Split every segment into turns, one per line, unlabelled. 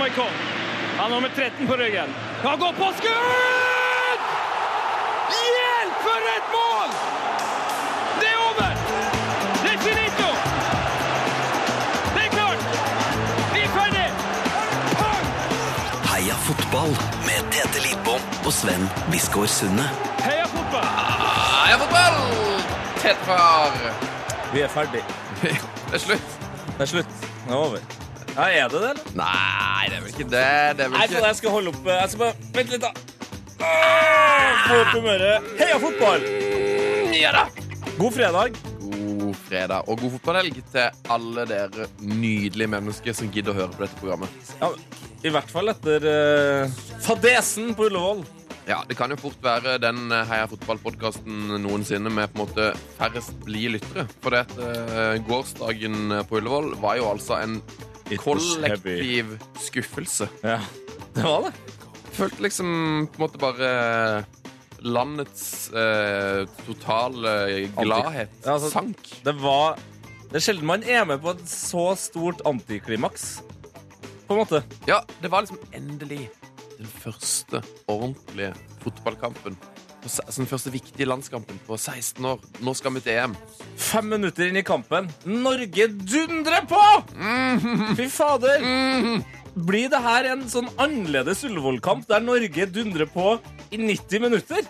Stockholm. Han har nummer 13 på ryggen. Han går på skudd! Hjelp for et mål! Det er over! Det er finito! Det er klart! Vi er ferdig!
Heia fotball med Tete Lidbom og Sven Biskår Sunde.
Heia fotball!
Heia fotball! Tett far.
Vi er ferdig.
Det er slutt.
Det er slutt. Det er over. Ja, er det det, eller?
Nei, det er vel ikke det. Det er
Nei,
vel
faen,
ikke
jeg skal holde opp eh, Jeg skal bare Vent litt, da. Åh, Få opp humøret. Heia fotball!
Ja da!
God fredag.
God fredag og god fotballhelg til alle dere nydelige mennesker som gidder å høre på dette programmet.
Ja, I hvert fall etter eh, fadesen på Ullevål.
Ja, Det kan jo fort være den eh, Heia fotball-podkasten noensinne med på en måte færrest blide lyttere. For det at eh, gårsdagen eh, på Ullevål var jo altså en
It was heavy.
kollektiv skuffelse.
Ja, det var det.
følte liksom på en måte bare eh, landets eh, totale eh, gladhet
Ja, altså-
sank.
Det var Det er sjelden man er med på et så stort antiklimaks, på en måte.
Ja, det var liksom endelig den første ordentlige fotballkampen. på se- Altså den første viktige landskampen på 16 år. Nå skal vi til EM.
Fem minutter inn i kampen. Norge dundrer på! Fy fader. Mhm. Blir det her en sånn annerledes Ullevål-kamp der Norge dundrer på i 90 minutter?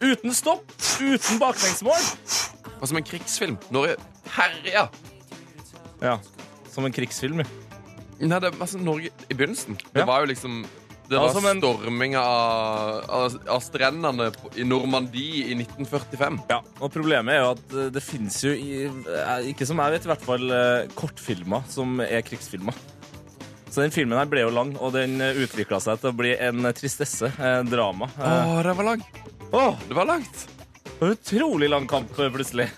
Uten stopp, uten baklengsmål.
Og som en krigsfilm. Norge herja!
Ja, som en krigsfilm.
Nei, det var altså Norge i begynnelsen. Det
Ja.
var jo liksom det
var
var
som en-
storming av, av, av strendene på- i Normandie i 1945.
Ja, og Problemet er jo at eh, det fins jo, i, eh, ikke som jeg vet, i hvert fall eh, kortfilmer som er krigsfilmer. Så den filmen her ble jo lang, og den utvikla seg til å bli en tristesse. eh, drama.
Å,
Eh,
det var langt!
åh,
Det var langt.
Det var en utrolig lang kamp eh, plutselig.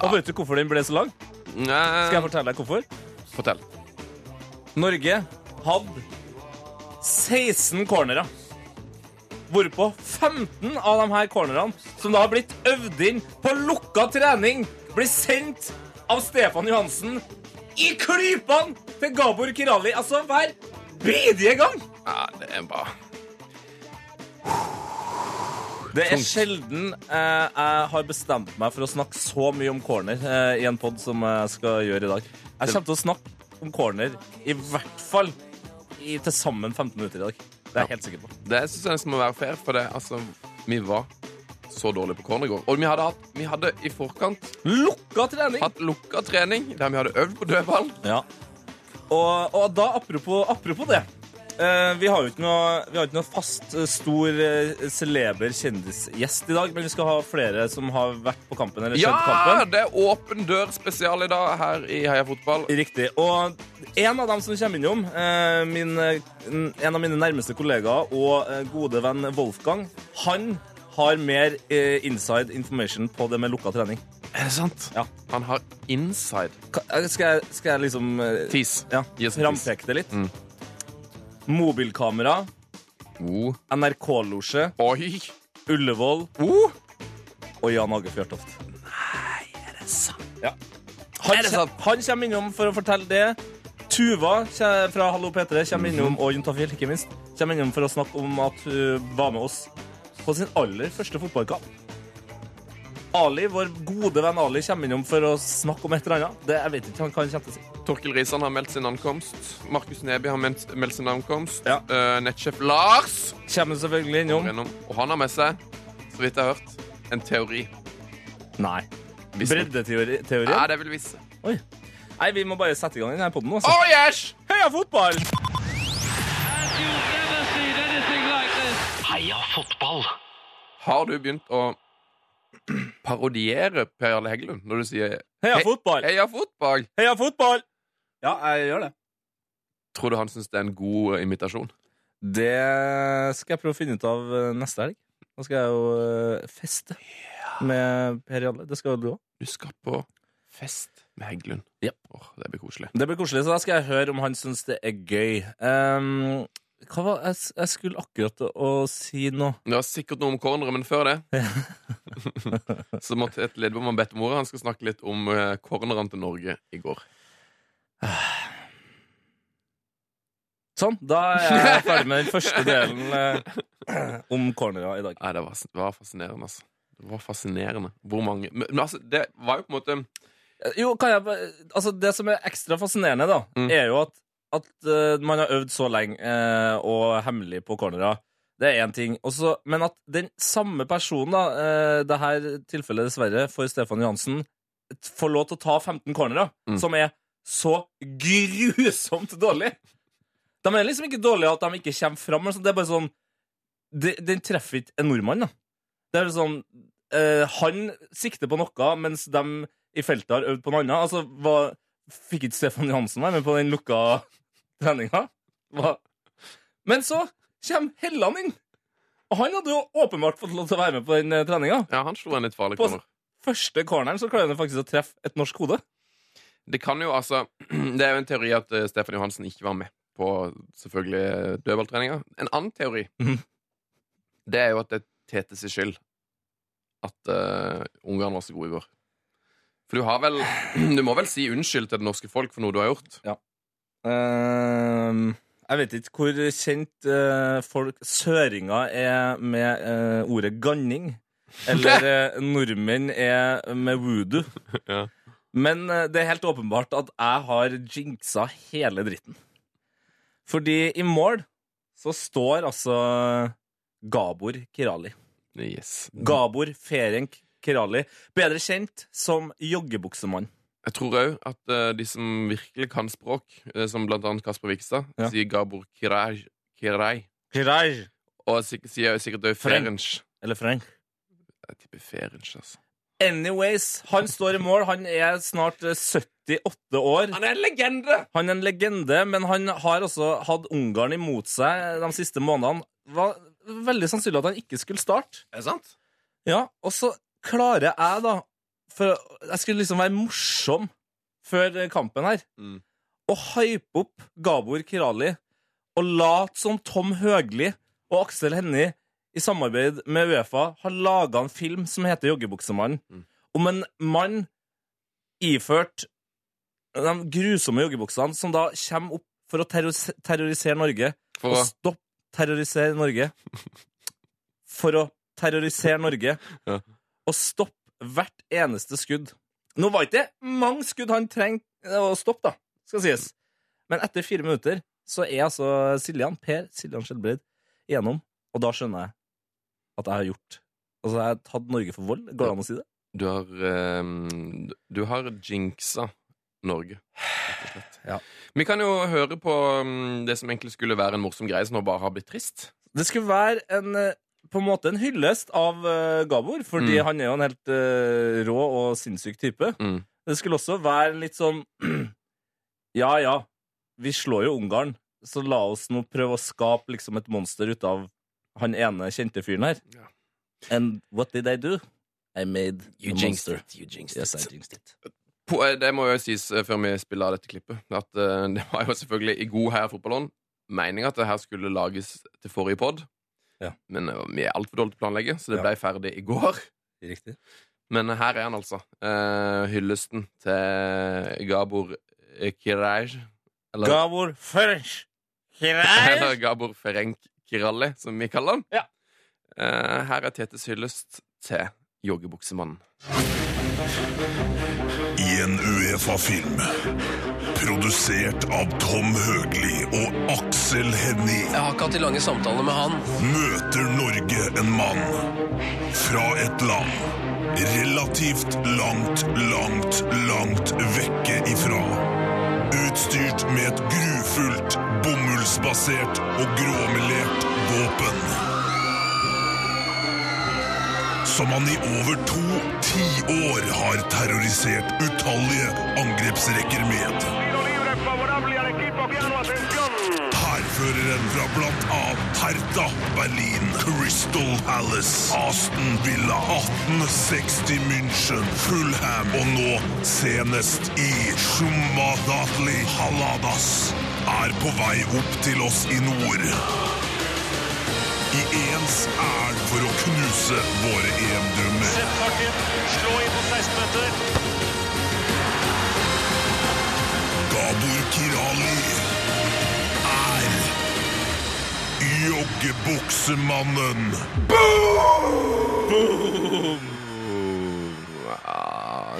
Og vet du hvorfor den ble så lang? Skal jeg fortelle deg hvorfor?
Fortell.
Norge hadde 16 cornerer. Hvorpå 15 av de her cornerne, som da har blitt øvd inn på lukka trening, blir sendt av Stefan Johansen i klypene til Gabor Kirali. Altså hver bidige gang!
Ja, det er bra.
Det er
Tungt.
sjelden eh, jeg har bestemt meg for å snakke så mye om corner eh, i en pod som jeg skal gjøre i dag. Jeg kommer til å snakke om corner i hvert fall i til sammen 15 minutter i dag. Det er jeg helt sikker på.
Det synes jeg nesten må være fair, for det, altså, vi var så dårlige på corner i går. Og vi hadde, hatt, vi hadde i forkant
Lukka trening!
hatt lukka trening der vi hadde øvd på dødball.
Ja. Og, og da, apropos, apropos det eh, vi, har jo ikke noe, vi har ikke noe fast, eh, stor, eh, celeber kjendisgjest i dag, men vi skal ha flere som har vært på kampen. eller
Ja!
skjedd kampen.
Det er åpen dør spesial i dag her i Heia fotball.
Riktig. Og en av dem som kommer innom, eh, min, eh, en av mine nærmeste kollegaer og eh, gode venn Wolfgang, han har mer eh, inside information på det med lukka trening.
Er det sant?
Ja.
Han har inside
Ka- eh, Skal jeg, skal jeg liksom eh,
tis.
ja,
Gi oss en tis.
frampeke det litt? Mobilkamera,
Oh.
NRK-losje,
Oi!
Ullevål
Oh.
og Jan Hage Fjørtoft.
sant?
Ja. Han,
Er det
kje-
sant?
han kommer innom for å fortelle det. Tuva kje- fra Hallo P3
Mhm.
kommer innom, og Juntafil, ikke minst, kommer innom for å snakke om at hun var med oss på sin aller første fotballkamp. Ali, vår gode venn Ali, kommer innom for å snakke om et eller annet. Det, jeg vet ikke han kan kjente si.
Torkil Risan har meldt sin ankomst. Markus Neby har meldt, meldt sin ankomst.
Ja.
Eh, nettsjef Lars
Kommer selvfølgelig innom.
gjennom. Og han har med seg, så vidt jeg har hørt, en teori.
Nei.
Visst. Ja,
Breddeteorien?
det vil vise.
Oi. Nei, vi må bare sette i gang denne poden, altså.
Oh, yes!
Heia fotball!
Have you ever seen anything like this?
Heia fotball!
Har du begynt å parodiere Per Jarle Heggelund når du sier
Heia
Hei-
fotball!
Heia fotball!
Heia fotball!
Ja, jeg gjør det.
Tror du han syns det er en god eh, imitasjon?
Det skal jeg prøve å finne ut av eh, neste helg. Da skal jeg jo eh, feste med Per Jalle. Det skal jo du òg.
Du skal på fest med Heggelund. Åh, det blir koselig.
Det blir koselig, så da skal jeg høre om han syns det er gøy. Ehm, hva var jeg, s- jeg skulle akkurat å si noe
Det var sikkert noe om cornere, men før det så måtte et ledbom ha bedt om ordet. Han skal snakke litt om eh, cornerne til Norge i går.
Sånn, da er jeg ferdig med den første delen eh, om cornera i dag.
Nei, det var, det var fascinerende, altså. Det var fascinerende hvor mange Men, men altså, det var jo på en måte
Jo, kan jeg bare- Altså, det som er ekstra fascinerende, da,
Mm.
er jo at, at eh, man har øvd så lenge eh, og hemmelig på cornera. Det er én ting. Også, men at den samme personen, da, eh, det her tilfellet dessverre for Stefan Johansen, t- får lov til å ta 15 cornera,
Mm.
som er så grusomt dårlig. De er liksom ikke dårlige at de ikke kommer fram. eller sånt. Det er bare sånn de- Den treffer ikke en nordmann, da. Det er sånn eh, Han sikter på noe, mens de i feltet har øvd på noe annet. Altså, hva, fikk ikke Stefan Johansen være med på den lukka treninga? Hva? Men så kommer Helland inn! Og han hadde jo åpenbart fått lov til å være med på den eh, treninga.
Ja, han slo en litt farlig
På-
corner.
Første corneren så klarer han faktisk å treffe et norsk hode.
Det kan jo altså Det er jo en teori at eh, Stefan Johansen ikke var med på selvfølgelig eh, dødballtreninga. En annen teori
Mhm.
Det er jo at det er Tete sin skyld at eh, Ungarn var så gode i går. For du har vel Du må vel si unnskyld til det norske folk for noe du har gjort.
Ehm, jeg vet ikke hvor kjent eh, folk søringer er med eh, ordet ganning. Eller eh, nordmenn er med voodoo.
Ja.
Men eh, det er helt åpenbart at jeg har jinxa hele dritten. Fordi i mål så står altså Gabor Kirali.
Yes.
Gabor Ferenc Kirali. Bedre kjent som joggebuksemann.
Jeg tror òg at eh, de som virkelig kan språk, eh, som blant annet Kasper Vikstad,
Ja.
sier Gabor Kiraj, Kiraj
Kiraj.
og sik sier sikkert òg
French.
Ferenc.
Eller Frank.
Jeg tipper Ferenc, altså.
Anyways, han står i mål. Han er snart eh, 78 år.
Han er en legende!
Han er en legende, men han har også hatt Ungarn imot seg de siste månedene. Var veldig sannsynlig at han ikke skulle starte.
Er det sant?
Ja, og så klarer jeg da For jeg skulle liksom være morsom før kampen her.
Mm.
Å hype opp Gabor Kirali og late som Tom Høgli og Aksel Hennie i samarbeid med Uefa har laga en film som heter Joggebuksemannen,
Mm.
om en mann iført de grusomme joggebuksene som da kommer opp for å terroris- terrorisere Norge
For
å
å
stoppe terrorisere Norge. For å terrorisere Norge.
Ja.
Og stoppe hvert eneste skudd. Nå var ikke det mange skudd han trengte eh, å stoppe, da, skal sies. Men etter fire minutter så er altså Siljan, Per Siljan Skjelbreid, igjennom. Og da skjønner jeg at jeg har gjort Altså, jeg har tatt Norge for vold. Går det an å si det?
Du har ehm, Du har jinxa Norge, rett og slett.
Ja.
Vi kan jo høre på mm, det som egentlig skulle være en morsom greie, som nå bare har blitt trist.
Det skulle være en eh, på en måte en hyllest av eh, Gabor, fordi
Mm.
han er jo en helt eh, rå og sinnssyk type.
Mm.
Det skulle også være litt sånn Ja, ja, vi slår jo Ungarn, så la oss nå prøve å skape liksom et monster ut av han ene kjente fyren her.
Ja.
And what did I do? I made a monster.
it. You jinxed
Yes, I jinxed it.
På, eh, det må jo sies eh, før vi spiller av dette klippet, at eh, det var jo selvfølgelig i god heia fotballånd meninga at det her skulle lages til forrige pod,
Ja.
men eh, vi er altfor dårlige til å planlegge, så det
Ja.
ble ferdig i går.
Riktig.
Men her er han altså. Eh, hyllesten til Gabor Kiraj. Eller,
Gabor French.
eller Gabor Ferenc Kiralli, som vi kaller han.
Ja.
Eh, her er Tetes hyllest til joggebuksemannen.
i en Uefa-film. Produsert av Tom Høgli og Aksel Hennie
Jeg har ikke hatt de lange samtalene med han.
møter Norge en mann fra et land relativt langt, langt, langt vekke ifra. Utstyrt med et grufullt, bomullsbasert og gråmelert våpen. Som han i over to tiår har terrorisert utallige angrepsrekker med. Hærføreren fra blant annet Hertha, Berlin, Crystal Palace, Aston Villa, 1860 München, Fulham og nå senest i Shumadatli Haladas er på vei opp til oss i nord. I ens ærend for å knuse våre EM-drømmer. Gabor Kirali er ifølge Buksemannen.
Ja,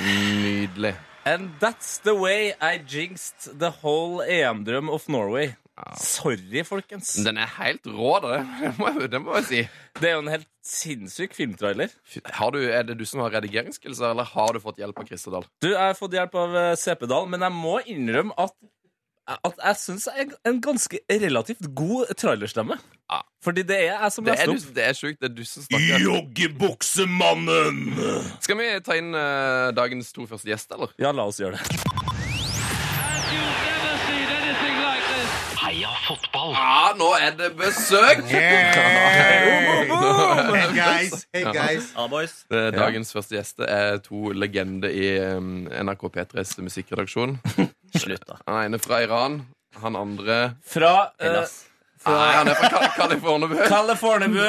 nydelig.
And that's the way I jinxed the whole EM-drøm of Norway. Sorry, folkens.
Den er helt rå, da. Det må jeg, det må jeg si.
Det er jo en helt sinnssyk filmtrailer.
Fy- Har du, er det du som har redigeringsskillelser, eller har du fått hjelp av Christer Dahl?
Du, jeg har fått hjelp av eh, CP-Dal, men jeg må innrømme at, at jeg syns jeg er en ganske relativt god trailerstemme.
Ja.
Fordi det er jeg som
Det er,
leste
du,
opp.
det er sjukt. Det er du som snakker.
Joggebuksemannen!
Skal vi ta inn eh, dagens to første gjest, eller?
Ja, la oss gjøre det.
You've never seen anything like this.
Heia fotball!
Ja, nå er det besøk!
Hey
Nå er det
guys, hey guys.
Eh, Dagens første gjeste er to legender i um, NRK P3s musikkredaksjon.
Slutt, da.
Han ene fra Iran, han andre
Fra uh,
Hellas.
Nei, han er fra Kal- Kalifornebø.
Californibu.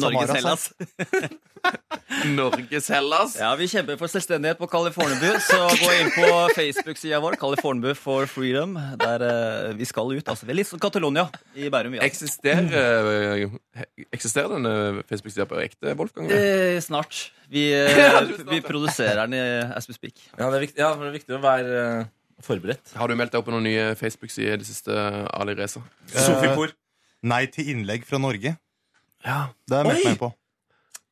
Norges Hellas.
Norges Hellas.
Ja, Vi kjemper for selvstendighet på Californibu, så gå inn på Facebook-sida vår. Californibu for freedom. Der eh, vi skal ut. altså. Vi er litt som Catalonia i Bærum. Ja.
Eksisterer, eh, eksisterer denne Facebook-sida på ekte, Wolfgang?
Eh, snart. Vi, eh,
Ja, du snart,
vi
ja.
produserer den i as we speak.
Ja, det er viktig, ja, for det er viktig å være eh, forberedt.
Har du meldt deg opp på noen nye Facebook-sider i det siste, Ali Reza?
Sofie Por.
Nei til innlegg fra Norge.
Ja.
Det har jeg meldt
Oi!
meg på.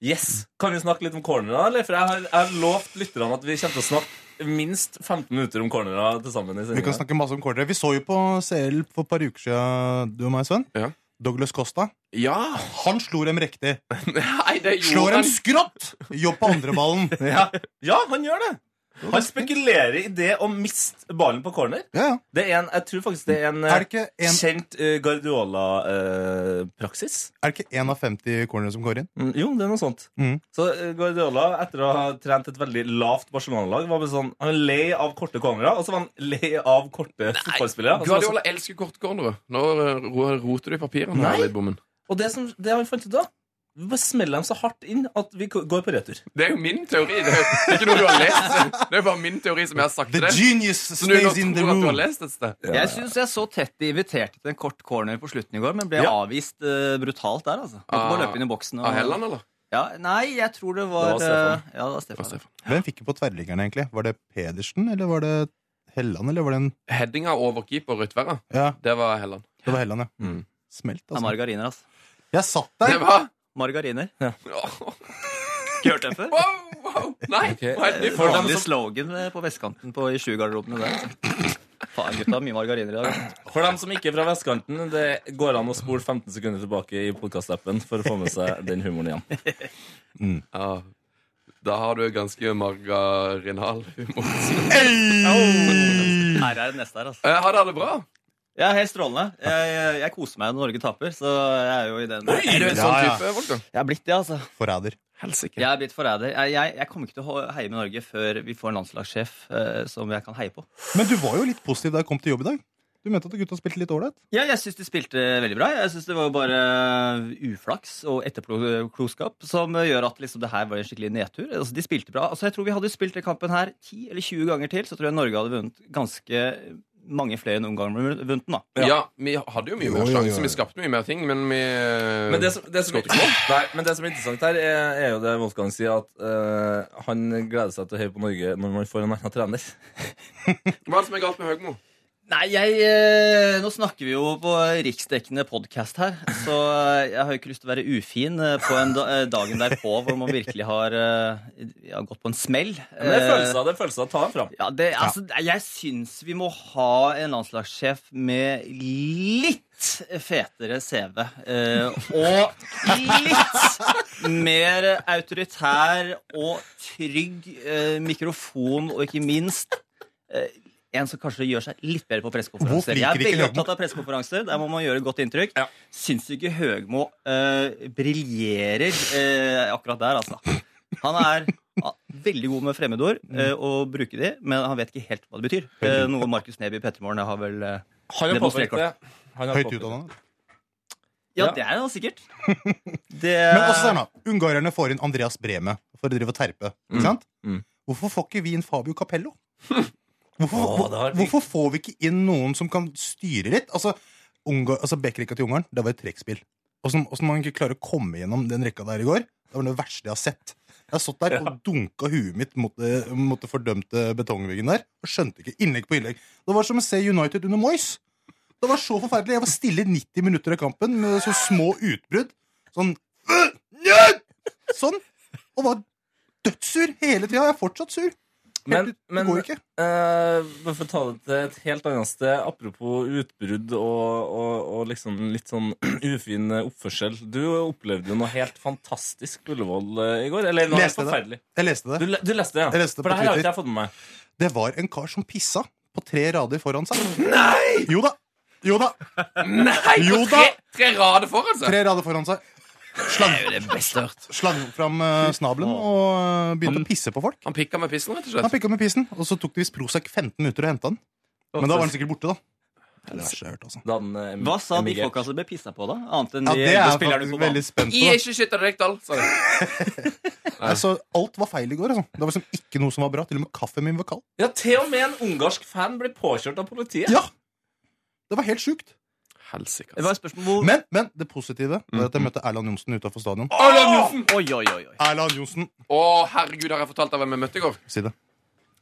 Yes! Kan vi snakke litt om cornera, eller? For jeg har, jeg har lovt lytterne at vi kommer til å snakke minst 15 minutter om cornera til sammen.
Vi
i
kan
sendingen.
snakke masse om cornere. Vi så jo på CL for et par uker siden, du og meg, Sven.
Ja.
Douglas Costa.
ja.
Han slo dem riktig.
Nei, det
Slår
gjorde
dem skrått! Jobb på andre ballen.
Ja. ja, han gjør det! Han spekulerer i det å miste ballen på corner.
Ja, ja.
Det er en, jeg tror faktisk det er en,
Er det ikke en,
kjent eh, Guardiola-praksis.
er det ikke en av 50 cornere som går inn?
Mm, jo, det er noe sånt.
Mm.
Så eh, Guardiola, etter å ha trent et veldig lavt Barcelona-lag, var bare sånn, han var lei av korte cornerer, og så var han lei av korte fotballspillere. Og
Altså,
så var han
Guardiola elsker kortcornere. Nå eh, ro- roter du i papirene.
Nei.
Ali Bommen.
sånn- Og det, som, det han fant ut da, vi bare smeller dem så hardt inn at vi ko- går på retur.
Det er jo min teori. Det er jo ikke noe du har lest. Det er jo bare min teori som jeg har sagt
The
til deg.
genius
Så nå
stays in the
tror at du har
room.
lest et sted.
Jeg syns jeg så tett de inviterte til en kort corner på slutten i går, men ble
Ja.
avvist eh, brutalt der, altså. Måtte
Ah.
bare løpe inn i boksen. og-
Av Helland, eller?
Ja, nei, jeg tror det var,
Det
eh,
var
Ja, det var Stefan.
Hvem fikk det på tverrliggeren, egentlig? Var det Pedersen, eller var det Helland, eller var det en
Headinga over keeper Rødtverra.
Ja,
Det var Helland.
det var Helland, ja.
Mm.
Smelt,
Det er
altså.
margariner, altså.
Jeg satt
Det
der.
var
Margariner.
Wow,
Ikke hørt det før?
wow! Nei! det var helt nytt.
For Vanlig slogan eh, på vestkanten på, i sjugarderobene der. altså. Faen, gutta. Mye margariner i dag. altså.
For dem som ikke er fra vestkanten, det går an å spole 15 sekunder tilbake i podkast-appen for å få med seg den humoren igjen.
Ja. Da har du ganske margarinal humor.
Her er det neste her, altså.
Eh, Har dere det bra?
Ja, helt strålende. Jeg, jeg, jeg koser meg når Norge taper, så jeg er jo i den
Er du
Ja,
en sånn
ja.
type, Wolfgang?
Jeg er blitt det, altså.
Forræder.
Jeg er blitt forræder. Jeg, jeg, jeg kommer ikke til å ho- heie med Norge før vi får en landslagssjef eh, som jeg kan heie på.
Men du var jo litt positiv da jeg kom til jobb i dag. Du mente at gutta spilte litt ålreit.
Ja, jeg syns de spilte veldig bra. Jeg syns det var bare uflaks og etterpåklokskap som gjør at liksom, det her var en skikkelig nedtur. Altså, de spilte bra. Altså, jeg tror vi hadde spilt den kampen her 10 eller 20 ganger til, så tror jeg Norge hadde vunnet ganske mange flere enn noen ganger vi hadde vunnet den, da.
Ja. vi hadde jo mye mer
Jo, jo, jo,
sjanser.
jo.
Vi skapte mye mer ting, men vi
Men det som, det som,
Skåret
nei, men det som er interessant her, er, er jo det Wolfgang sier, at eh, han gleder seg til å heie på Norge når man får en annen trener.
Hva er det som er galt med Høgmo?
Nei, jeg, eh, nå snakker vi jo på riksdekkende podkast her, så eh, jeg har jo ikke lyst til å være ufin eh, på en da, eh, dagen derpå hvor man virkelig har eh, ja, gått på en smell.
Men det er
Eh,
følelser, det er følelser. Ta dem fram.
Ja, det, altså, Jeg syns vi må ha en landslagssjef med litt fetere CV. eh, og litt mer autoritær og trygg eh, mikrofon, og ikke minst eh, en som kanskje gjør seg litt bedre på
Hvorfor
pressekonferanser. Jeg
liker
er
vi ikke
veldig
Høgmo?
opptatt av pressekonferanser. Der må man gjøre godt inntrykk.
Ja.
Syns du ikke Høgmo eh, briljerer eh, akkurat der, altså? Han er ja, veldig god med fremmedord
Mm.
eh, å bruke de, men han vet ikke helt hva det betyr. Eh, noe Markus Neby i Pettermorgen har vel eh,
Han har
Demonstrert
påpekt det. Han har
Høyt
påpekt det.
utdanna.
Ja,
Ja.
det er han sikkert. Det,
Men også der, da. Ungarerne får inn Andreas Breme for å drive og terpe. Ikke sant?
Mm.
Hvorfor får ikke vi inn Fabio Capello? Hvorfor,
Å, det har vært
hvorfor får vi ikke inn noen som kan styre litt? Altså, Ungar, altså Bekkerikka til Ungarn, det var et trekkspill. Åssen åssen man ikke klarer å komme gjennom den rekka der i går, det var det verste jeg har sett. Jeg satt der og dunka huet mitt mot, det- mot den fordømte betongveggen der og skjønte ikke innlegg på innlegg. Det var som å se United under Moyes. Det var så forferdelig. Jeg var stille i 90 minutter av kampen med så små utbrudd. Sånn «Øh, nja!» Sånn. Og var dødssur hele tida. Jeg er fortsatt sur.
Men-
Helt ut-
men-
det går ikke.
Eh, Bare for å ta det til et helt annet sted, apropos utbrudd og, og, og liksom litt sånn ufin oppførsel. Du opplevde jo noe helt fantastisk Ullevål eh, i går. Eller noe helt
Leste det.
forferdelig.
Jeg leste
Du,
det.
le- du leste det, ja?
Jeg leste det
for
på
det her har
Twitter.
ikke jeg fått med meg.
Det var en kar som pissa på tre rader foran seg. Nei! Jo da. Jo da.
Nei!
Jo da.
Tre, tre rader foran seg!
Tre rader foran seg. Slang, slang fram eh, snabelen og eh, begynte å pisse på folk.
Han pikka med pissen, rett og
Han
slett.
pikka med pissen, og så tok det visst Prozac 15 minutter å hente han. Men da var han sikkert borte, da. Det er det verste jeg har hørt, altså.
Da den, eh,
Hva sa de
emigrerte.
folka som ble pissa på, da? Annet enn
Ja,
de
det er
elleve
jeg
spillerne på
faktisk
banen.
veldig spent
Jeg
på.
er ikke skytter Rekdal, sa de.
Altså, alt var feil i går. Altså. Det var liksom ikke noe som var bra. Til og med kaffen min var kald.
Ja, til og med en ungarsk fan blir påkjørt av politiet.
Ja! Det var helt sjukt.
Helsike.
Det var et spørsmål hvor
Men, men det positive var at jeg møtte Erland Johnsen utafor stadion.
Oi, oi, oi. oi.
Erland Johnsen!
Å, herregud, har jeg fortalt deg hvem jeg møtte i går?
Si det.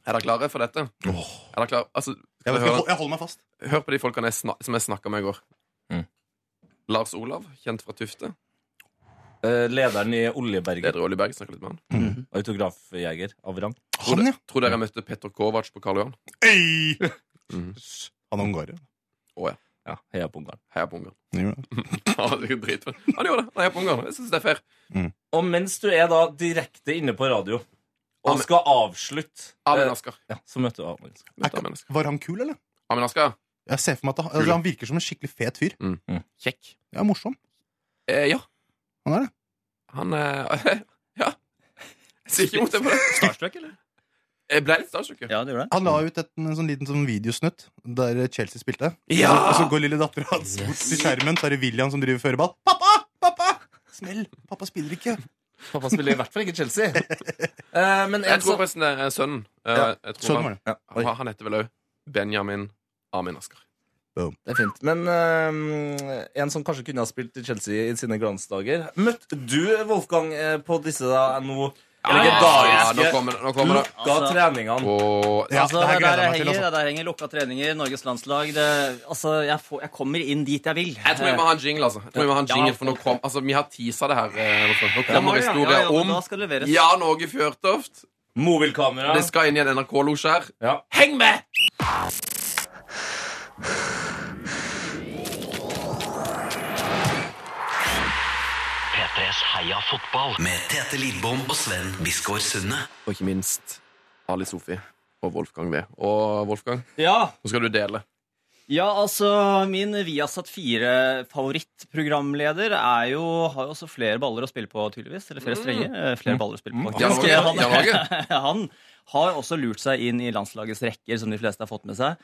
Er dere klare for dette? Er dere klare? Altså,
Jeg,
skal
vet ikke, jeg
jeg høre,
hold- jeg holder meg fast.
hør på de folkene jeg sna som jeg snakka med i går.
Mm.
Lars Olav, kjent fra Tufte.
Eh, lederen i Oljeberget.
Leder i Oljeberg. Snakka litt med han.
Autografjeger av rang.
Tror,
Han, ja.
de- tror dere jeg møtte Petter Kovac på Karl Johan?
Øy!
Mhm.
Han er ungarer.
Ja, heia på Ungarn.
Heia på Ungarn.
Han gjør det.
Ja, det er jo dritfett. Han gjorde det. Han heia på Ungarn. Jeg syns det er fair.
Og mens du er da direkte inne på radio og
Amen.
skal avslutte,
Amin
eh,
Asker.
ja, så møter du Amen.
Møtte Amin Asker.
Var han kul, eller?
Amin Asker.
Jeg ser for meg at han, altså, han virker som en skikkelig fet fyr.
Kjekk.
Ja, morsom.
Eh, ja.
Han er det.
Han eh, Ja. Jeg sier ikke imot det på det.
Starstruck, eller?
Jeg ble litt starstruck. jo.
Ja, det gjorde det.
Han la ut et, en sånn liten sånn videosnutt der Chelsea spilte.
Ja!
Og så går lille dattera hans bort til skjermen, så er det William som driver førerball. Pappa! Pappa! Smell! Pappa spiller ikke.
Pappa spiller i hvert fall ikke Chelsea. Eh, men
Jeg tror
altså,
forresten det er sønnen. Eh,
Ja,
jeg tror
Sånn
han,
var det.
Oi.
han, han heter vel òg Benjamin Amin Asker.
det er fint. Men eh, en som kanskje kunne ha spilt i Chelsea i sine glansdager Møtte du Wolfgang eh, på disse da nå
ja, nå
legendariske
kommer det. Nå kommer det.
lukka
Altså-
treningene?
Og
Ja,
altså,
det her
der,
gleder jeg meg til.
henger,
Altså.
der henger lukka treninger, Norges landslag. Det, altså, jeg, får, jeg kommer inn dit jeg vil. Eh,
jeg tror vi må ha en jingle, altså. Jeg tror Vi må ha en
Ja,
jingle, for nå
ok.
kom, altså, vi har teasa det her. eh, Wolfgang. Nå
Ja,
kommer
ja, ja,
historier
ja, men
om
Da skal det leveres.
Ja, Norge Fjørtoft.
Mobilkamera.
Det skal inn i en NRK-losje her.
Ja.
Heng med!
P3s Heia fotball med Tete Lidbom og Sven Biskår Sunne.
Og ikke minst Ali Sofi og Wolfgang V. Og Wolfgang,
Ja,
nå skal du dele.
Ja, altså, min Viasat 4-favorittprogramleder er jo Har jo også flere baller å spille på, tydeligvis. Eller flere strenger. eh,
Mm.
Flere baller å spille på.
Jan Åge,
han,
Jan Åge.
han har jo også lurt seg inn i landslagets rekker, som de fleste har fått med seg.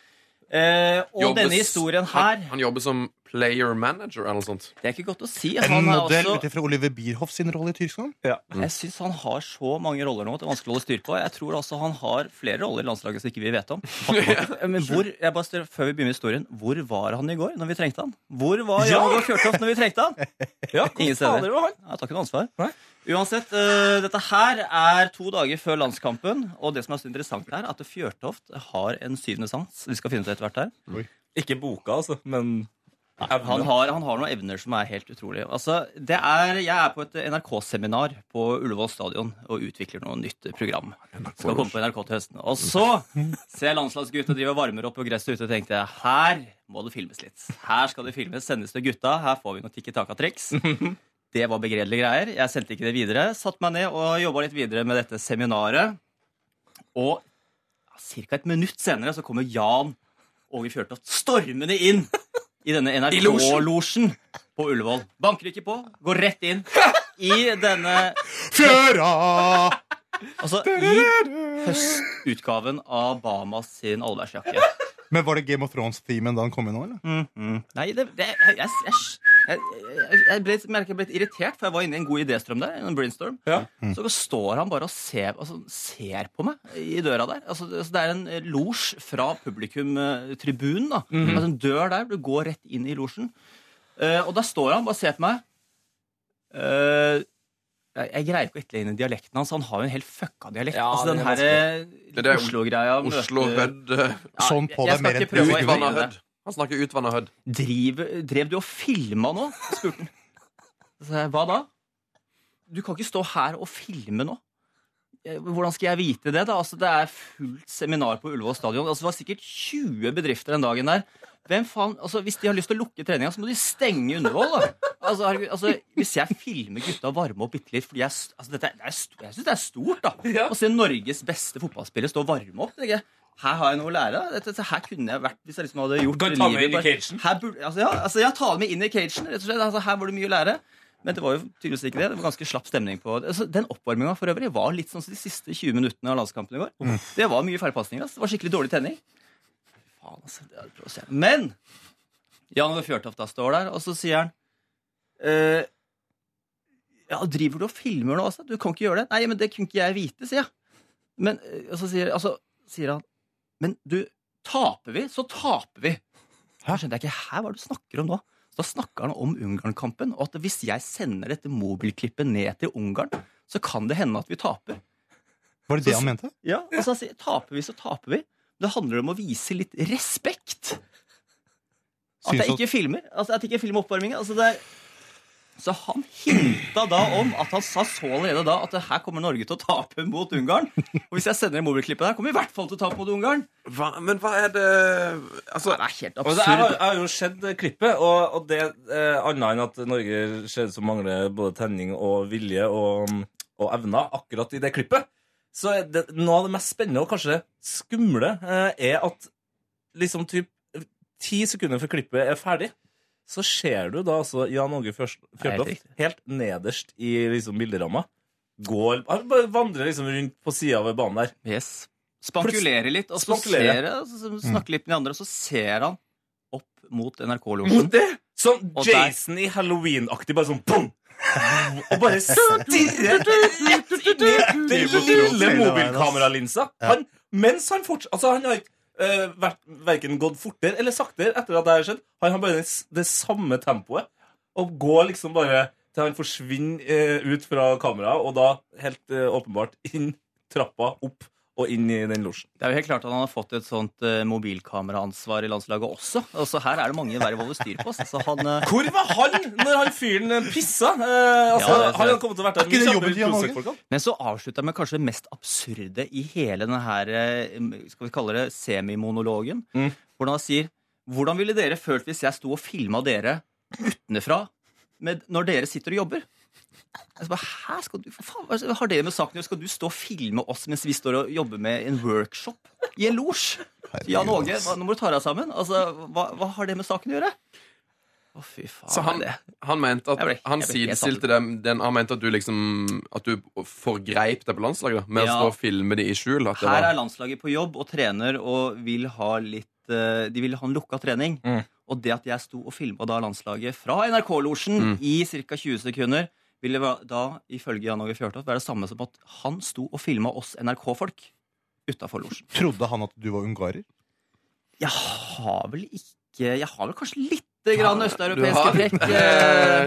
Eh, og
Jobbes-
denne historien her
Han, han jobber som player manager eller noe sånt.
Det er ikke godt å si.
En
Han er
modell
også
ut ifra Oliver Bierhoff sin rolle i Tyskland.
Jeg syns han har så mange roller nå at det er vanskelig å holde styr på. Jeg tror også han har flere roller i landslaget som ikke vi vet om. Men hvor, jeg bare stiller, før vi begynner historien, hvor var han i går når vi trengte han? Hvor var Jan Åge Fjørtoft når vi trengte han?
Ja,
Ingen
hvor fader
steder.
var han?
Jeg tar ikke noe ansvar.
Nei.
Uansett, eh, dette her er to dager før landskampen, og det som er så interessant her, er at Fjørtoft har en syvende sans. Vi skal finne ut det etter hvert her.
Ikke boka, altså, men
Han har, han har noen evner som er helt utrolige. Altså, det er, jeg er på et NRK-seminar på Ullevål stadion og utvikler noe nytt program. Skal komme på NRK til høsten. Og så ser jeg landslagsgutta drive og varmer opp på gresset ute, og tenkte jeg her må det filmes litt. Her skal det filmes, sendes til gutta. Her får vi noen tikki taka-triks. Det var begredelige greier. Jeg sendte ikke det videre. Satt meg ned og jobba litt videre med dette seminaret. Og ca. et minutt senere så kommer Jan Åge Fjørtoft stormende inn i denne NRK-losjen på Ullevål. Banker ikke på, går rett inn i denne
Fjøra!
Altså i høstutgaven av Bahamas sin allværsjakke.
Men var det Game of Thrones-themen da han kom inn nå, eller?
Nei, det, det jeg, jeg, jeg, jeg, jeg ble, litt- merker jeg ble litt irritert, for jeg var inne i en god idéstrøm der. En brainstorm.
Ja.
Mm.
Så står han bare og ser, altså, ser på meg i døra der. Altså, det, altså, det er en eh, losj fra
Mhm.
publikumtribunen. da. Altså, en dør der. Du går rett inn i losjen. Eh, og der Eh, står han bare og ser på meg. eh, jeg, jeg greier ikke å etterligne dialekten hans. Han har jo en helt fucka dialekt.
Ja,
altså
det
den
er
her
Det
eh,
er
Oslo-greia møter-
Oslo Hødd. eh,
Ja,
Sånn på
jeg- jeg
deg mer
skal ikke
enn
prøve å
Utvanna
etterligne
Hødd.
det.
Han snakker utvanna Hødd.
Driv, drev du og filma nå? spurte han. Så sa jeg, Hva da? Du kan ikke stå her og filme nå. Eh, Hvordan skal jeg vite det? da? Altså, det er fullt seminar på Ullevål stadion. Altså, det var sikkert 20 bedrifter den dagen der. Hvem faen, altså Hvis de har lyst til å lukke treninga, så må de stenge Ullevål. da. Altså, herregud, altså, hvis jeg filmer gutta varme opp bitte litt fordi jeg, s- altså, dette, er- det er, sto- jeg syns det er stort da,
Ja.
å se Norges beste fotballspiller stå og varme opp. tenker jeg. Her har jeg noe å lære. da. Dette, her kunne jeg vært hvis jeg liksom hadde gjort
Du kan ta med
livet
inn i
bare-
cagen.
Her burde, altså, ja, altså, jeg tar det med inn i cagen. Rett og slett. Altså, her var det mye å lære. Men det var jo tydeligvis ikke det. Det var ganske slapp stemning på altså, Den oppvarminga for øvrig var litt sånn som de siste 20 minuttene av landskampen i går. Det var mye feilpasninger. Altså. Det var skikkelig dårlig tenning. Faen, altså, det er provoserende. Men Jan Ove Fjørtoft da står der, og så sier han eh, ja, Driver du og filmer nå også? Du kan ikke gjøre det. Nei, men det kunne ikke jeg vite, sier jeg. Men, eh, og så sier, altså, sier han Men du, taper vi, så taper vi. Da skjønte jeg ikke, hæ, hva er det du snakker om nå? Så da snakker han om Ungarn-kampen, og at hvis jeg sender dette mobilklippet ned til Ungarn, så kan det hende at vi taper.
Var det det han mente?
Ja, altså han sier, taper vi, så taper vi. Men det handler om å vise litt respekt. At jeg
Synes
ikke filmer. Altså, at jeg ikke filmer oppvarmingen. Altså, det er... Så han hinta da om at han sa så allerede da at her kommer Norge til å tape mot Ungarn. Og hvis jeg sender inn mobilklippet der, kommer vi i hvert fall til å tape mot Ungarn.
Hva, men hva er det Altså,
Det er helt
Og det, jeg, har,
absurd.
jeg har jo sett eh, klippet, og, og det eh, annet enn at Norge ser ut som mangler både tenning og vilje og, og evner akkurat i det klippet, så er det, noe av det mest spennende og kanskje skumle eh, er at liksom typ ti sekunder før klippet er ferdig, så ser du da altså Jan Åge Fjørst-
helt
Fjørtoft
riktig.
helt nederst i liksom bilderamma. Går, han bare vandrer liksom rundt på sida av banen der.
Yes. Spankulere litt, og så
Spankulere.
ser jeg, så snakke litt med de andre, og så ser han opp mot
Mot
NRK-losjen.
det! Som
Og der-
Jason i Halloween-aktig, bare sånn boom! Og bare stirrer rett i den lille
altså.
mobilkameralinsa. Han, mens han fortsatt Altså, han har ikke eh, vært verken gått fortere eller saktere etter at det har skjedd. Han har bare det, s- det samme tempoet. Og går liksom bare til han forsvinner eh, ut fra kameraet, og da helt eh, åpenbart inn trappa, opp og inn i den losjen.
Det er jo helt klart at han har fått et sånt eh, mobilkameraansvar i landslaget også. Altså, her er det mange verv over styr på. Altså, han, eh,
Hvor var han når han fyren eh, pissa? Eh, altså,
Ja, det er
han hadde kommet til å vært der
ikke det
mye
jobben
kjappere
til Jan
enn
Åge?
Prosec-folkene.
men så avslutter jeg med kanskje det mest absurde i hele denne her, eh, skal vi kalle det, semimonologen.
Mm.
Hvordan han sier Hvordan ville dere følt hvis jeg sto og filma dere utenfra med, når dere sitter og jobber? Jeg så bare, Hæ? Skal du, for faen, hva har det med saken å gjøre? Skal du stå og filme oss mens vi står og jobber med en workshop i en losj? Jan Åge, hva- nå må du ta deg sammen. Altså, hva, hva har det med saken å gjøre? Å, fy faen.
så han,
det.
han mente at
Jeg ble-
Han
jeg ble helt
sidestilte dem den, Han mente at du liksom At du forgreip deg på landslaget da, med å
Ja.
stå og filme de i skjul. At det
Her
var,
er landslaget på jobb og trener og vil ha litt eh, De vil ha en lukka trening.
Mm.
Og det at jeg sto og filma da landslaget fra NRK-losjen i ca. 20 sekunder, ville va- da ifølge Jan Åge Fjørtoft være det samme som at han sto og filma oss NRK-folk utafor losjen.
Trodde han at du var ungarer?
Jeg har vel ikke Jeg har vel kanskje lite grann
har-
østeuropeiske trekk. eh,